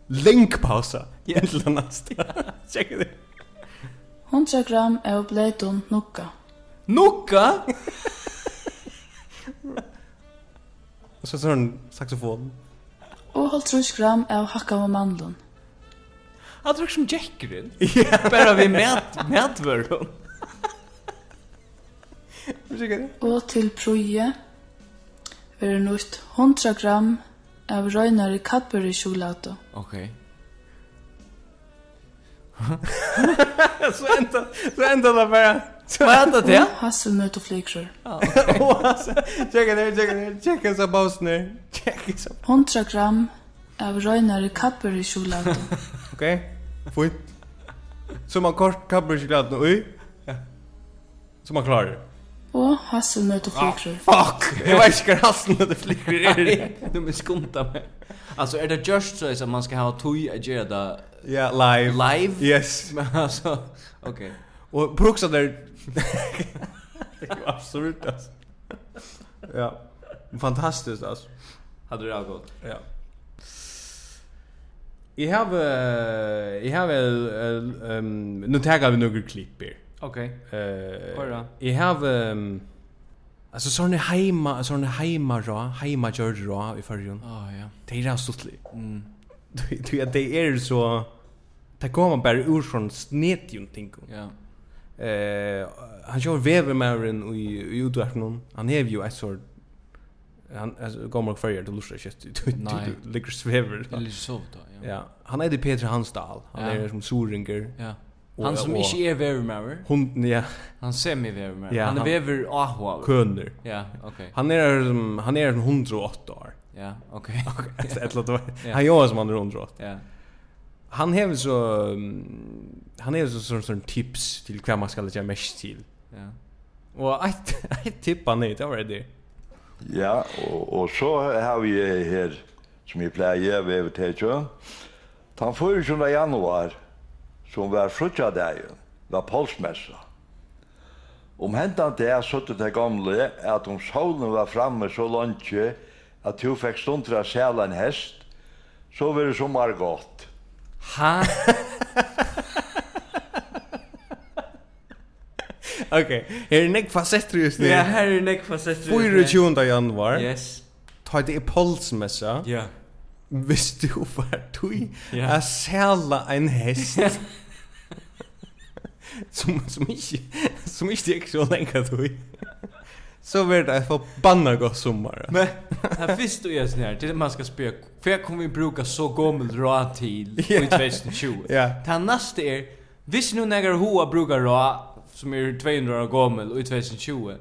Länkpausa. Egentligen nästa. Checka det. 100 gram av bleitum nukka, Nokka? Och så tar han saxofon. og 50 gram av hakkaðu mandlun. Han tror som Jackrin. Bara vi mät mätvörron. Checka det. Og til prøye verður nýtt 100 gram av røynari Cadbury sjokulátu. Okej. Så ända så ända det bara. Vad heter det? Hasselnøtt og flygrer. Checka det, checka det. Checka så pausen. Checka så. 100 gram av røynari Cadbury sjokulátu. Okej. Fint. Så man kort kabbar choklad nu. Oj. Så man klarar det. og hasselnøtt og flygrer. Ah, Fuck! Jag vet inte hur hasseln det flickor är. Nu men skunta mig. Alltså är det just så att man ska ha tui att göra det Ja, live. live? Yes. Men alltså, okej. Och bruxa där Det är ju absurt alltså. Ja. Fantastiskt alltså. Hade det gått. Ja. Jag har jag har ehm nu tagar vi några klipp här. Okej. Eh Hva er det? Jag har ehm alltså såna hemma såna hemma då, hemma gör då i förrjun. Ah ja. Det är rastligt. Mm. Du du att det är så Det kommer bara ur från snedjun tinko. Ja. Eh han kör vevermären i i utvarpnon. Han är ju ett sort han alltså kommer och färger till lustra kött. Du- du- Nej. du Ligger svever. Det är så då. Ja. Ja, han er heter Peter Hansdahl. Han Ja. är som soringer. Ja. Og- Han som og- inte är vevermauer. Hunden, ja, Han semi-vevermauer. Ja, han är han- vever ahua. køner. Ja, okej. Han är som han är som 108 år. Ja, okej. Alltså, ett eller annat. Ja. Han gör som han är 108. Ja. Han har så um, han har så sån sån tips till vad man ska lägga mest till. Ja. Och ett ett tipp han är det var det. Ja, og, og så har vi her, som jeg pleier ved over til kjø. Den 24. januar, som var frutja dagen, var polsmessa. Om hentan det er sutt det gamle, at om solen var framme så langt at du fikk stundra sæla en hest, så var det sommar godt. Ha. Okej, här är näck facetter just nu. Ja, här är näck facett. 24 januar. Yes. Ta det i polsmässa. Ja. Visst du var du Ja. att sälja en häst som som inte som inte gick så länge du så var det för banna gott sommar. Men här finns du ju sån här till man ska spela. För jag kommer vi bruka så gommel rå till Ja. i 2020. Ja. Det nästa är visst nu när hoa brukar rå som är 200 år gommel och i 2020.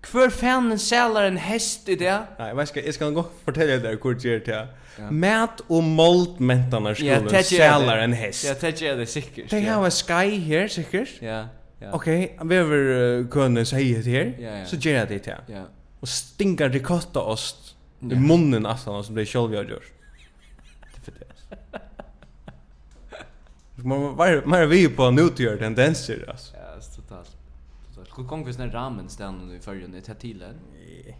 Kvar fan säljer en häst i det? Nei, jeg skal, jeg skal gå fortelle deg hvor det er til. Mat og mold mentan er skolen det gör det. sælar en hest. Ja, det är det säkert. Det ja. har en sky her, sikkert. Ja. Ja. Ok, vi har uh, kunnet si det her, Ja, ja. så gjør jeg det til. Ja. Og stinker ricottaost i munnen aftan som det er selv jeg gjør. Det er for det, altså. Man var man är vi er på nu till tendenser alltså. Ja, det är totalt. Totalt. Hur kommer vi sån här ramen stannar i förrjun? Det är till den. Nej.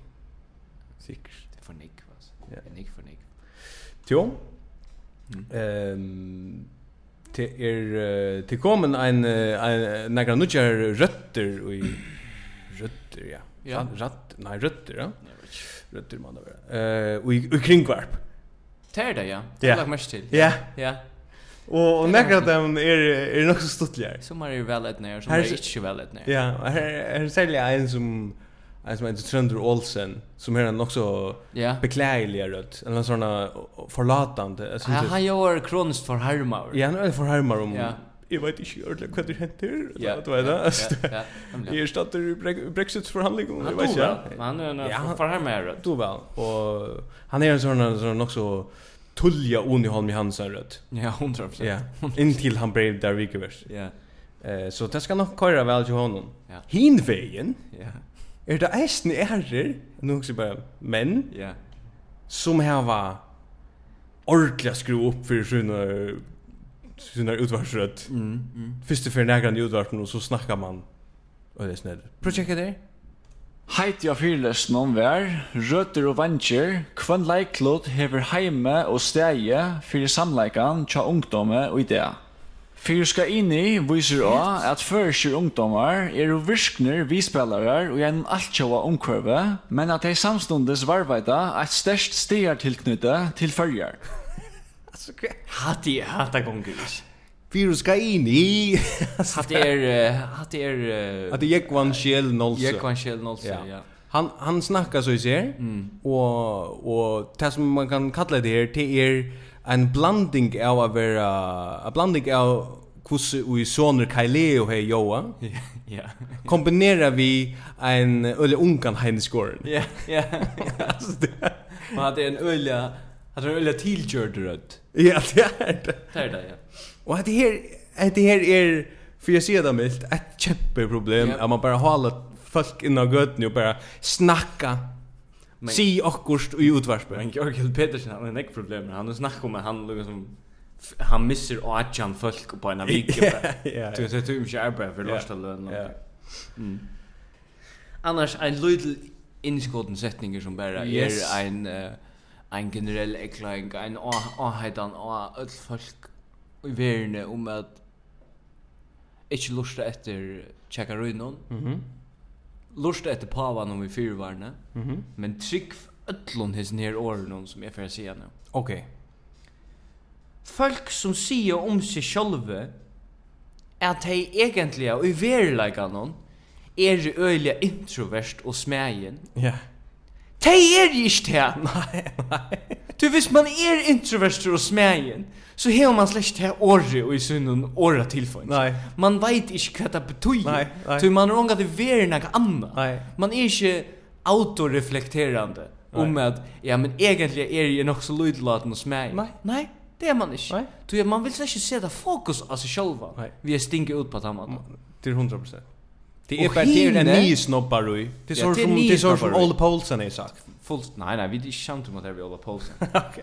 Sikkert. Det är för nick, alltså. Ja. Det är nick för nick. Jo. Mm. Ehm det er til kommen ein eh, ein nakra nutjar røtter og i røtter ja. Ja. Røtt, nei røtter ja. Røtter man vera. Eh og i og i kringvarp. Tär det, ja. Det Ja. har lagt mest till. Ja. Ja. Og og nakra dem er er nok så stuttligare. Sommar är väl ett när, Här sommar så- är inte väl ett när. Ja, her er særlig ein som ein som heter Trønder Olsen som er nok så Ja. beklagelig rødt, eller sånna forlatande. Jeg synes Han det- Ah, han gör kroniskt för harmar. Ja, han er for hermar om Ja. Jeg vet ikke ordentlig hva det henter Ja. Du vet det altså, Ja, ja, nemlig. Jeg er statt i Brek- Brexit-forhandlingen Han jeg vet tog ikke, ja. väl. Men han är Ja, han- en för harmar rött. Du vel Og han er en sånn Sånn nok så Tullia Uniholm i Hansen rødt Ja, 100%. Ja Inntil han ble der vikevers Ja. Eh, Så det skal nok køyre vel til honom Ja. Hinvegen Ja. Er det eisen ærer Nå husker jeg bare Menn Ja. Som hava Ordentlig skru opp For sånne Sånne utvarsrødt Mm. mm. Fyrste fyrir nægran i utvarpen, og så snakkar man Og det er snedd Projekt der? Heit ja fyrlesen om vær, røtter og vantjer, kvann leiklod hever heime og steie fyrir samleikan tja ungdomme og idea. Fyrir skal inni viser å at førsir ungdomar er jo virkner vispelarar og gjennom altjåa omkvarve, men at de samstundes varveida et størst stegartilknytte til følger. Hade jag hade gånger. Virus ska in i Hade er eh, hade er At det gikk van sjel nolse Jag kan själv noll säga. Ja. Ja. Mm. Han, han snakkar så i ser Og, og det som man kan kalla det her Det er en blanding av å vera En blanding av Kusse ui soner Kaileo hei joa Ja. Kombinera vi en Øle ungan heineskoren Ja, ja. Alltså det. Man hade en ölja, hade en ölja tillkörd rött. Ja, det er det Det är det, ja. Og det her, det her er, for jeg sier det mildt, et kjempeproblem, Ja. at man bare holder folk inn av gøtene og bare snakka, Men- si akkurst i Men utvarspet. Jörgel Petersen han har en problem. Han har snackat om att han liksom han missar åtjan folk på en vecka. Ja, er er Du vet du inte arbetar för Ja. lasta lön. Ja. Mm. annars en lydel innskoten setninger som bara Yes. er en eh, en generell eklang, en a- aheitan av öll folk i verden eh, um om at ikke lusta etter tjekka ruinon, Mhm. lusta etter pavan om i fyrvarne, Mhm. men trygg öllun hisen her åren som jeg får sige nu. Ok. Folk som sier om seg sjálve at hei egentlig og i verileikanon er øyelig introvert og smegin. Ja. Tei er jo ikke det. Nei, nei. Du, hvis man er introverster og smegin, så hever man slett det året og i sunnen året tilføyns. Nei. Man veit ikke hva det betyr. Nei, nei. Så man er ångat i veri noe annet. Nei. Man er ikke autoreflekterande om at, ja, men egentlig er jeg nok så lydlaten og smegin. Nei, nei, det er man ikke. Nei. Du, man vil slett ikke se det fokus av seg sjálva. Nei. Vi er stinket ut på tamman. Til 100%. Det er Og är bara det är en hinne- ny snobbar i. Det är Ja, så det er är som ni det är så som snobbar i. Olle Paulsen är sagt. Fullt, nei, nei, vi er ikke samt om at det er vi Ola Poulsen. ok.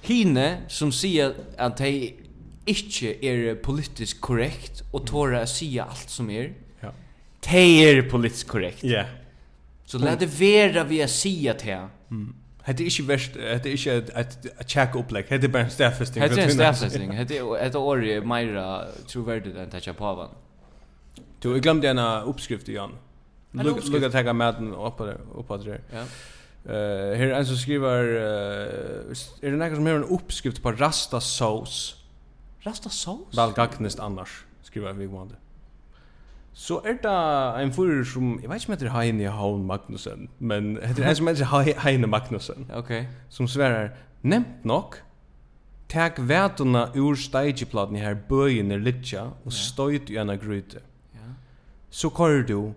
Hine som sier at de ikke er politisk korrekt og tårer å si alt som er, Ja. de er politisk korrekt. Ja. Så la det være vi å si at er. her. Mm. Det är inte värst, det är inte ett ett check upplägg. Det är bara en staffesting. Hette er en stafsetting. Hette er året er meira troverdig enn Tatja Pavan. Du, jag glömde en uh, uppskrift igen. En uppskrift? Lugga tagga maten upp på det. Upp på det. Ja. Eh, här är en som skriver eh, är det någon som har en uppskrift på rasta sauce? Rasta saus? Väl gagnest annars, skriver vi om det. Så er det en fyrir som, jeg vet ikke om heter Heine Havn Magnussen, men heter en som heter Hei- Heine Magnussen. Ok. Som sverar, nemt nok, tak vetuna ur steigiplaten her bøyen er litja, og støyt i ena gryte. Ja. Så kör du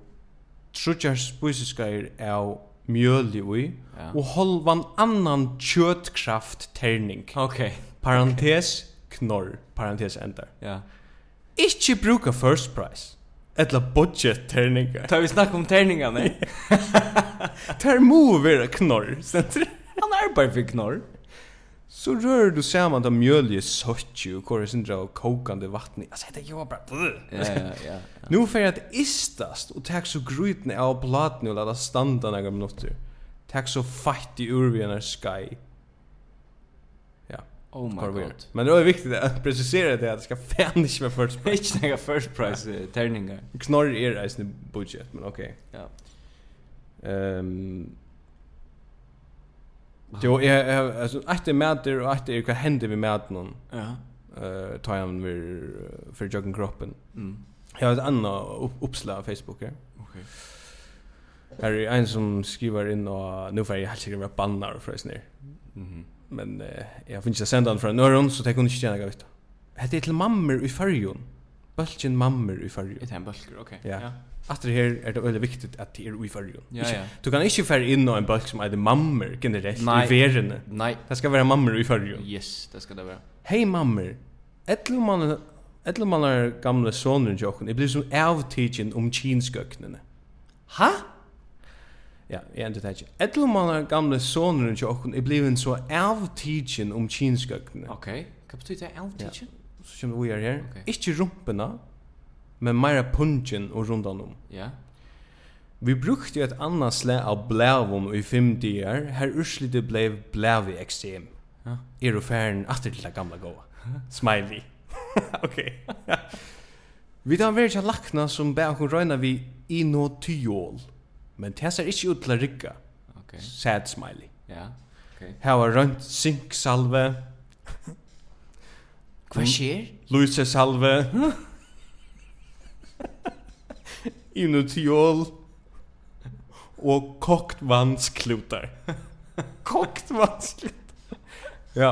trutjar spusiskair av mjöli ui, Ja. og holvan annan kjötkraft terning. Ok. Parentes knorr, parentes endar. Ja. Ikki bruka first price. Etla budget terningar. Ta vi snakka om terningar, nei? Ter mo vera knorr, stendur. Han er bare for knorr. Så rör du saman ta mjölje sochi og kore sindra og kokande vatni. Altså, det gjør bara... Bleh. Ja, ja, ja. Nu fer at istast og tek så grytne av platni og lata standa några minutter. Tek så fatt i urvinar sky. Ja. Oh my Kvar vi er. god. Men det är viktigt att precisera det att det ska fan inte vara first price. Ikke nega first price eh, terningar. Knorr er eisne budget, men okej. Ja. Ehm Jo, jeg jeg- altså etter mater og etter hva hender vi med noen. Ja. Eh tar jeg en vir for joggen kroppen. Mm. Jeg har et annet opp- oppslag av Facebook her. Ok. Her er en som skriver inn og nå får jeg helt sikkert være bannar og frøs ned. Mhm. Men eh, jeg finner ikke senda den fra Nøron, så tenker hun ikke gjerne gavitt. Hette er til mammer i fargen. Bølgen mammer i fargen. Det er en bølger, ok. Ja. Ja. Atter her er det veldig viktig at det er i fargen. Ja, Ikke- ja. Du kan ikke fære inn av en bølg som er det mammer generelt Nei. i verene. Nei. Det skal være mammer i fargen. Yes, det skal det være. Hei mammer, etlu man etlu man er gamle sonen jokken. Jeg blir er som um avtidgen om kinskøknene. Ha? Ja, jeg endte det ikke. Etlu man er gamle sonen jokken. Jeg blir så avtidgen om kinskøknene. Ok. Hva betyr det? Altidgen? Så kommer vi her her. Ok. Ikke rumpena, men meira punchen og rundan um. om. Ja. Vi brukte et annet slag av blævom i fem dager, her urslite blei blævi eksem. Ja. Er du færen atter til det gamla gåa? Smiley. ok. vi tar veri til lakna som bæ okkur røyna vi inotiol, men det ser ikke ut til å rikka. Ok. Sad smiley. Ja. Ok. Her var rønt sinksalve. Hva skjer? Lusesalve. Inotiol. Og kokt vannsklutar. kokt vannsklutar. ja.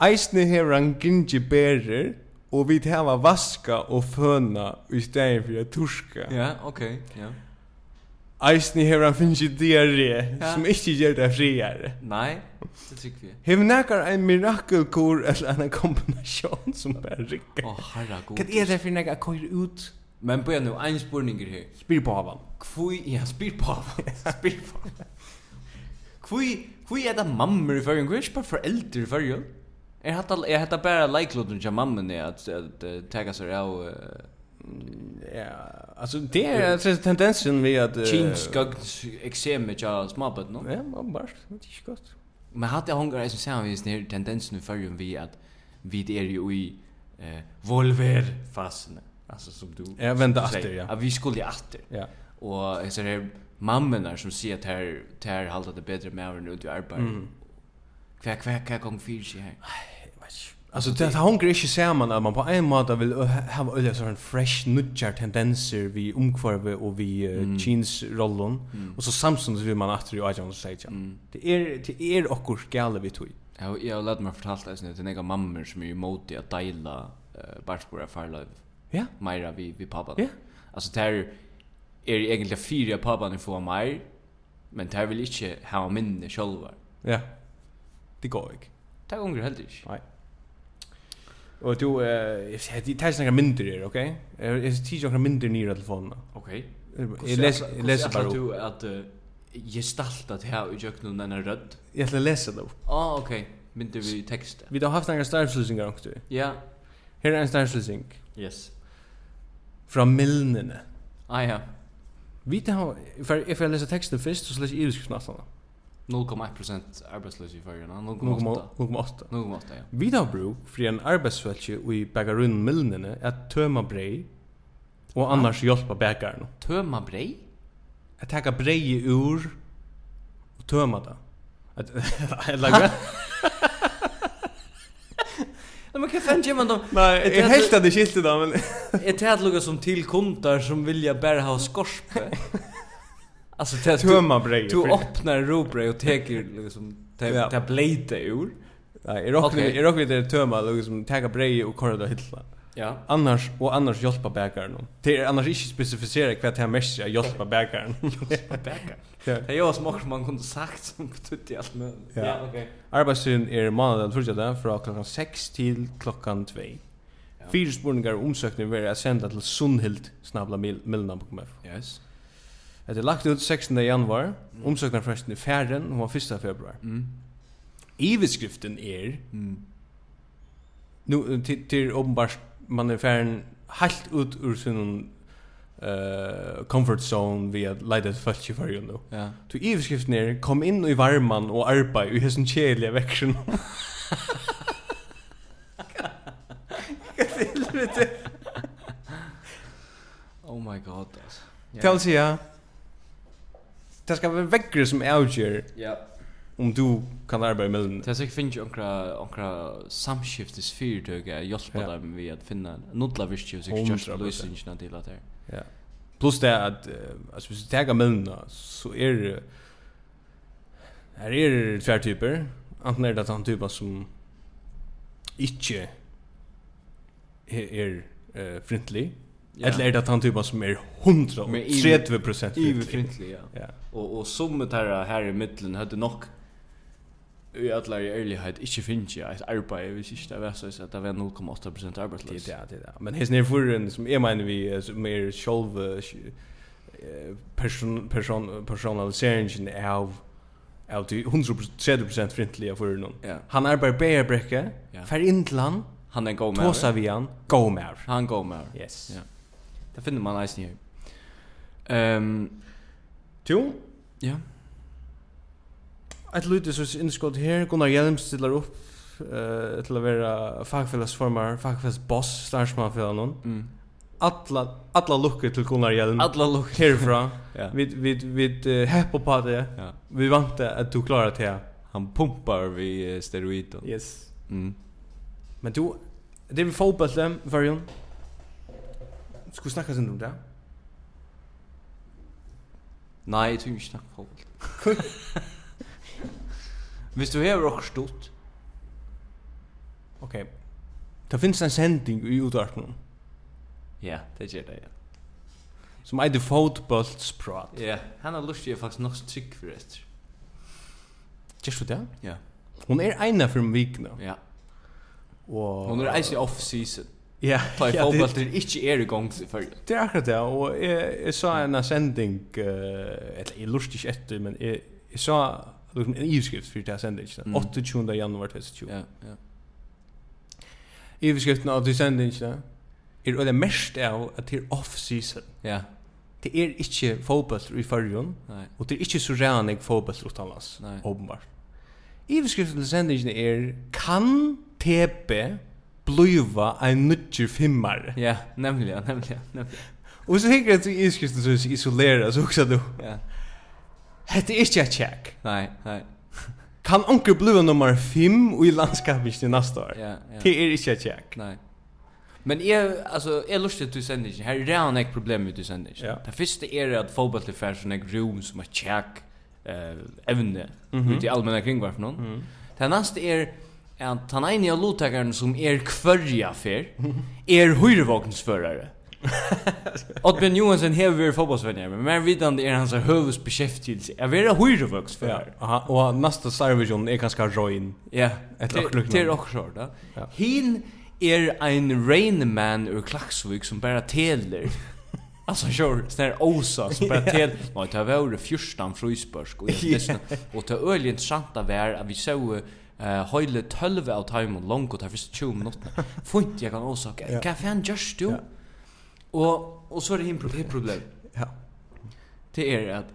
Eisne hever han gingiberer, og vi hava vaska og føna i stedet for at turska. Ja, ok. Ja. Eisne hever han finnst diarré, Ja. som ikke gjør det friare. Nei, det tykker vi. Hever nekar en mirakelkur eller en kombinasjon som bare rikker. Å, herra god. Hva er det for nekar køyr ut? Men bøy nu, en spurninger her. Spyr på havan. Kvui, ja, spyr på havan. Spyr på havan. Kvui, kvui er det mammer i fyrrjun? Kvui er ikke bare foreldre i fyrrjun? Er hatt er hatt eh, bare leikloden til mammen i at, at, at tega seg av... eh, Ja, Alltså det är alltså tendensen vi att eh, Kinskags eksem tja smabbet, no? Ja, man bara, det är inte gott. Men hade jag hungar som säger vi snär tendensen i förrjun vi att vi är ju i eh volver fasen. Alltså som du. Ja, vända som du säger. efter, ja. Att vi skulle efter. Ja. Och så här mammorna som ser att här här håller det bättre med över nu till arbete. Mm. Kvä kvä kvä gång fyr sig här. Alltså det har hungrig inte samman att man på en måte vill ö- ha öliga sån fresh nudgar tendenser vi omkvarve och vi Mm. jeans rollen Mm. och så samtidigt vill man efter i agent och säga. Det är det är också gale vi tog. Ja, jag har lärt mig fortalt det snart några mammor som är emot i att dela uh, barnsbora farlöv. Ja. Mera vi vi pappa. Ja. Alltså det här är egentligen fyra pappan får mer, er men det här vill inte ha minne själva. Ja. Det går ikke. Det går inte heller inte. Nej. Och du eh det tar några mindre där, okej? Eh, Jag tar några mindre ner i telefonen. Okej. Jag läser jag läser bara. upp. du att uh, gestalta det här i jöknen den är rödd? Jag ska läsa det. Ah, okej. Men du vi text. Vi har haft några starvslösningar också. Ja. Här är en starvslösning Yes. från Milnene. Ah ja. Vi tar för if jag läser texten först så läser jag överskriften nästan. 0,1% arbetslös i förrjun. 0,8. 0,8. 0,8, ja. Vi tar bruk för en arbetsfältje och i bägarun Milnene att tömma brej och annars hjälpa bägaren. Tömma brej? Att ta brej ur och tömma det. Att eller Nej, men kan fan ge man dem? Nej, jag helt hade skilt det men Är det att lugga som till kontar som vilja bära ha skorpe? Alltså det att du- Tömma brejer Du för- öppnar robrej och teker liksom Ja. ta blejta ur. Nej, är också Okej. är också det tömma liksom ta brej och korra det hylla. Ja. Annars och annars hjälpa bägaren. Det är er annars inte specificerat vad det här mässar hjälpa bägaren. Hjälpa bägaren. Ja. Det er är jag som också man kunde sagt som betyder allt möjligt. Ja. Ja, okej. Arbeidsstiden er måndag den første fra klokkan 6 til klokkan 2. Fyra spurningar og omsøkninger vil jeg senda til Sundhild snabla milna.mf. Yes. Det er lagt ut 16. januar. Omsøkninger forresten i færen, hun er var 1. februar. Mm. Iveskriften er, Mm. nu, til, til åpenbart, man er færen helt ut ur sin uh, comfort zone vi har leidet fölk i fyrjun nu. Ja. Du iveskriften er, kom inn i varman og arbeid i hessen kjedelige veksjon. Oh my god. Alltså. Ja. Til å si ja. Det skal være vekkere som avgjør Ja. om du kan arbeide med den. Det er är säkert finns ju några några samskiftes fyrtøg jag hjälper Ja. dem vid att finna nudla visst ju sig just 100%. lösningarna till att det. är. Ja. Plus det at, uh, altså hvis du tager med den, så er det, her er det tver typer. Enten er det den typen som ikke er, er uh, frintlig, Ja. eller er det den typen som er Med 130% Iver frintlig. Frintli, ja. Ja. Og og sum tær her i middelen hadde nok i allar i ærlighet ikke finnes jeg et arbeid hvis ikke det var så at det var 0,8% arbeidsløs. Det er det, det er det. Men hesten er foran, som jeg mener vi, eh, som er sjolv eh, person, person, personaliseringen av av til 130% frintlige for noen. Ja. Han er bare bedre brekke, Ja. fer inn til han, Han er en god maver. tåsa vi han, go mer. Han går med. Yes. Ja. Det finner man eisen her. Ehm Jo, ja. et lyte som er innskått her, Gunnar Hjelm stiller opp eh, til å være fagfellesformer, fagfellesboss, stansmann for noen. Mm. Alla alla luckor till Gunnar Hjelm. Alla luckor. härifrån. Ja. Vi vi vi eh, hepp på det. Ja. Vi väntar att du klarar det. Han pumpar vi eh, steroiden. Yes. Mm. Men er du det vi får på dem varjon. Ska vi snacka sen om det? Nei, jeg tror ikke snakk fotball. Hvis du hever okkur stort. Okej. Det finns en sändning i utarpen Ja, det gjør det, ja. som heter fotbollsprat. Ja, han har lustig faktisk nok så trygg for etter. Just du det? Ja. Hon er är ena för en vikna. Ja. Och Hon er eisen off-season. Ja. Ta i ja, det- fotball til ikke er i gang i følge. Det er akkurat det, og jeg, jeg sa en sending, uh, eller jeg lurte ikke etter, men jeg, jeg sa liksom, en ivskrift for det her sendingen, Mm. 28. januar 2020. Ja, ja. Ivskriften av de sendingene, er øyla mest av at det er off-season. Ja. Det er ikke fotball i fyrjun, Nei. og det er ikke så rannig fotball utanlands, Nei. åpenbart. Iverskriften til sendingen er Kan TP bliva ein nutjer fimmar? Ja, nemlig, ja, nemlig, ja, nemlig. Og så hikker jeg til iverskriften som er isolera, så hugsa du. Ja. Hette er ikke et check. Nei, nei. Kan onker bliva nummer 5 i landskapet til neste år? Ja, ja. Det er ikke et check. Nei. Men jeg, altså, jeg lustig til sendingen. Her er han ikke problem med til sendingen. Ja. Det første er at fotball til fær sånn ek rom som er tjekk eh, evne Mhm. ut i allmänna kringvar er for noen. Mhm. Det neste er at han ene av lottakeren som er kvørja fer er høyrevågnsførare. Oddbjørn Johansen hever vi fotbollsvenner, men mer vidande er hans høvesbeskjeftigelse. Jeg vil ha høyrevågnsførare. Aha, og neste servisjon er ganske røyn. Ja, Et til- akkurat Til okkur sort, da. Ja. Hin er ein rain man ur Klaksvik som bara teler. Alltså sure, snär Osa som bara Ja. tel. Nej, det var det fyrstan frysbörsk och Ja. det och det är öligen sant att vara att vi så eh höjle 12 av time och långt och det finns 20 minuter. Funt jag kan Osa. Ja. Kan fan just du? Och och så är det hin pro- hitt problem. Ja. Det är att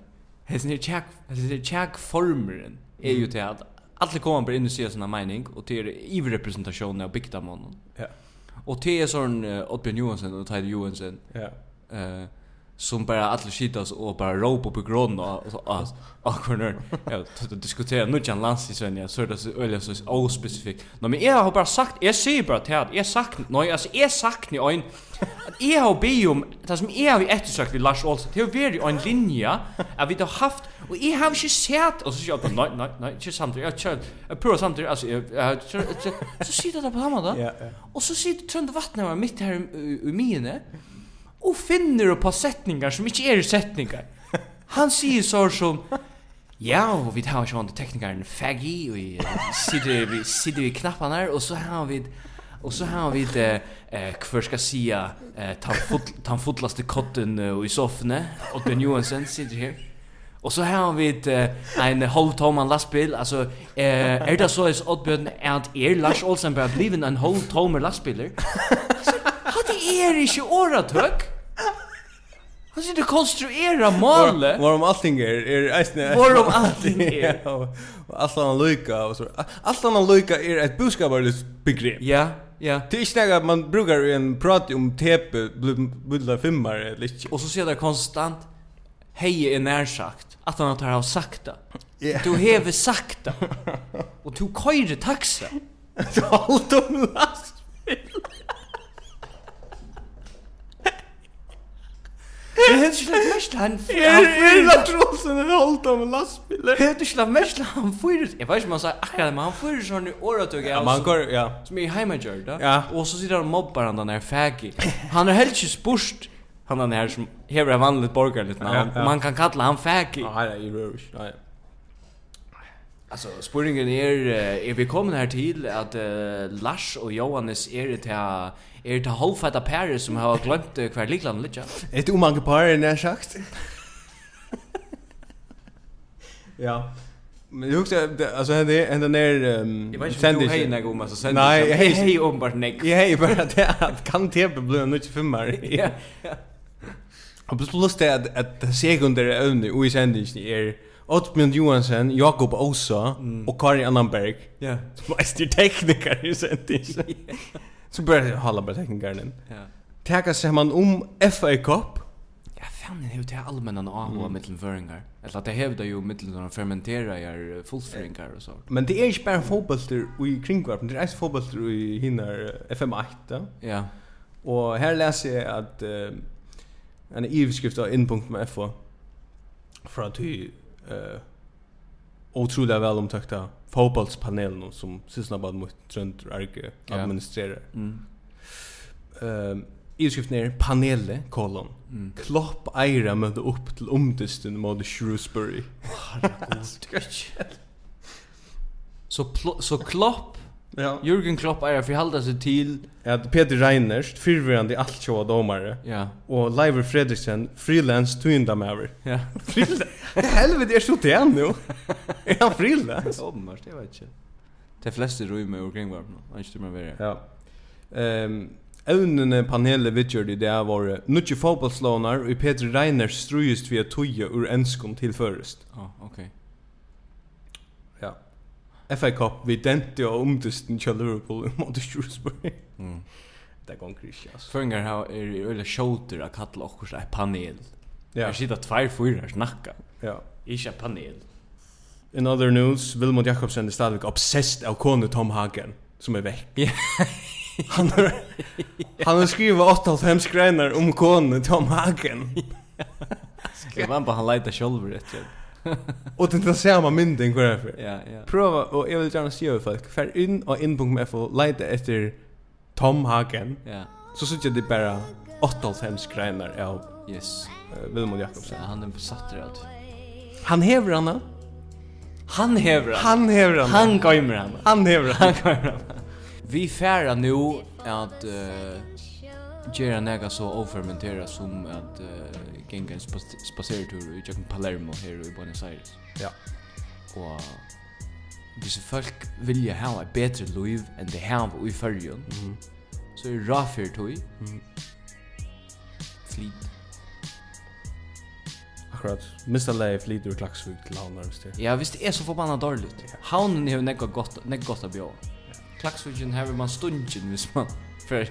Hesin er tjekk, hesin er tjekk formeren er jo til at alle kommer bare inn og sier sin mening, og til er iverrepresentasjonen av bygda mannen. Ja. Og til er sånn uh, Oddbjørn Johansen og Teide Johansen, Ja. eh, som bare alle skytas og bare råper på gråden og så ah, ah, hvor nør, ja, til å diskutere nu kjenn landstidsvenn, så er det så øyelig så ospesifikt. Nå, men jeg har bare sagt, jeg sier bare til at jeg sakner, nei, altså jeg sakner øyn, at jeg har bi om, det som jeg har ettersøkt vi Lars Olsen, det har vært en linje, at vi har haft, og jeg har ikke sett, og så sier jeg bare, nei, nei, nei, ikke samtidig, jeg kjører, jeg prøver samtidig, altså, jeg, jeg, jeg, jeg, så sier det på samme da, Ja, ja. og så sier Trønde Vattnet var mitt her i, i mine, og finner upp på setningar som inte är setningar. Han säger så som Ja, och vi har ju inte teknikern Faggy och vi eh, sitter vi sitter vi knapparna här och så har vi och så har vi det eh för ska säga eh ta fot ta fotlaste kotten eh, och i soffne och Ben Johansson sitter här. Och så har vi ett eh, en halvtomman lastbil alltså eh är det så att Oddbjörn är att er Lars Olsen bara blivit en halvtommer lastbiler. Hade er inte åratök? Han sitter och konstruerar målet. Varum allting er, er eisne... Varum allting er. Ja, og og allt annan lyka og så. Allt annan lyka er et budskaparligt begrepp. Ja, ja. Det er ikke nega at man brukar i en prat om tepe, budla fimmar eller ikke. Och så ser det konstant er Hej är närsagt att han tar av sakta. Du hever sakta. Och du köjer taxa. Du håller om lastbil. Jag hade inte lagt mest han. Er, er latrosen en hållt om lastbiler. Jag hade inte lagt mest han fyrir. Jag vet inte om han säger akkurat, men han fyrir sån i åratug. Ja, man går, ja. Som är heimagjör da. Ja. Och så sitter han och mobbar han den här faggy. Han er är helt inte spurst. Han den här som hever en vanligt borgerligt namn. Ja, ja. Man kan kalla han faggy. Nei, nei, jeg rör ikke, nei. Alltså spurningen är eh, är vi kommer här till att uh, Lars och Johannes er är det här är det halvfatta paret som har glömt uh, kvar likland lite. Et umange par er nær sagt. ja. Men jag husar, alltså hände hände ner um, Jag vet inte om du hej när går så sen. Nej, jag hej- hej om vart nick. Jag hej bara det att kan tepe bli en nutch femmar. Ja. Och plus det er att att det sekundära ämne och i sändningen är Oddbjørn Johansen, Jakob Åsa och Karin Annanberg. Ja. Som är tekniker i sändningen. Så börjar jag hålla bara teknikern. Ja. Täcka sig man om FA Cup. Ja, fan det er är ju det allmänna AH mellan föringar. Eller att det hävdar ju mellan de fermenterar er fullföringar och så. Men det er ikke bare fotballster i kringkvarpen, det er ikke fotballster i hinner eh, FM8. Da. Ja. Og her leser jeg at uh, en ivskrift av innpunkt med FH fra at vi uh, utrolig vel omtøkta fotballspanelen som sysna bad mot Trønd Arke Ja. administrerer. Mm. Um, Ivskriften er panelet, kolon. Mm. Klopp eira møtte opp til omdisten mot Shrewsbury. Så pl- så Klopp Ja. Jürgen Klopp är för halda sig till At Peter Reinerst, fyrverande alt sjåa domare, ja. og Leivur Fredriksen, frilans tuindamaver. Ja. Frille? Helvete, er så til han nu. Er han frille? Sommar, er det vet jag. De flesta rymmer omkring varandra. Han styr man vidare. Ja. Ehm Evnene panelet vidgjør i det er var nutje fotbollslånar og Petri Reiner strujust via tuje ur enskon til først. Ja, okej. Ja. FA Cup vi dente og omdysten kjøl Liverpool mot Shrewsbury. Mm. Det går ikke, altså. Føringar har er i øyla shouter a kalla okkur ei panel. Er Ja. Ja. Jeg sitter tvær fyrer snakka. Ja. Ikke et panel. In other news, Vilmund Jakobsen er stadigvæk obsessed av kone Tom Hagen, som er vekk. han har, han er har skrivet 98 greiner om kone Tom Hagen. Jeg var på han leita sjolver etter. og det er den samme mynden hver er for. Ja, ja. Prøva, og jeg vil gjerne si over folk, fer inn og inn.fo, leite etter Tom Hagen, Ja. så synes jeg det bare 98 greiner av yes. Vilmund eh, Jakobsen. Ja, han er besatt av det. Han hever henne. Han hever henne. Han hever henne. Han gøymer henne. Han hever henne. Han gøymer henne. Vi færa nu at uh, Gjera nega så overmentera som at uh, genga en spas- spasertur i Jøkken Palermo her i Buenos Aires. Ja. Og hvis folk vilja hava et betre liv enn de hava i fyrjun, så er rafir tui, Mhm. flit. Akkurat, mista leie flyter i klaksvig til han nærmest til. Ja, hvis det er så forbanna dårligt. Havnen har nekka gott, nekka gott av bjå. Klaksvigen har man stundjen hvis man för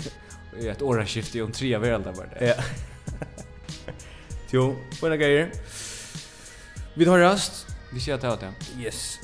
i ett åraskifte om tre av elda bara det. Ja. Jo, buena greier. Vi tar rast. Vi ser att det. Yes.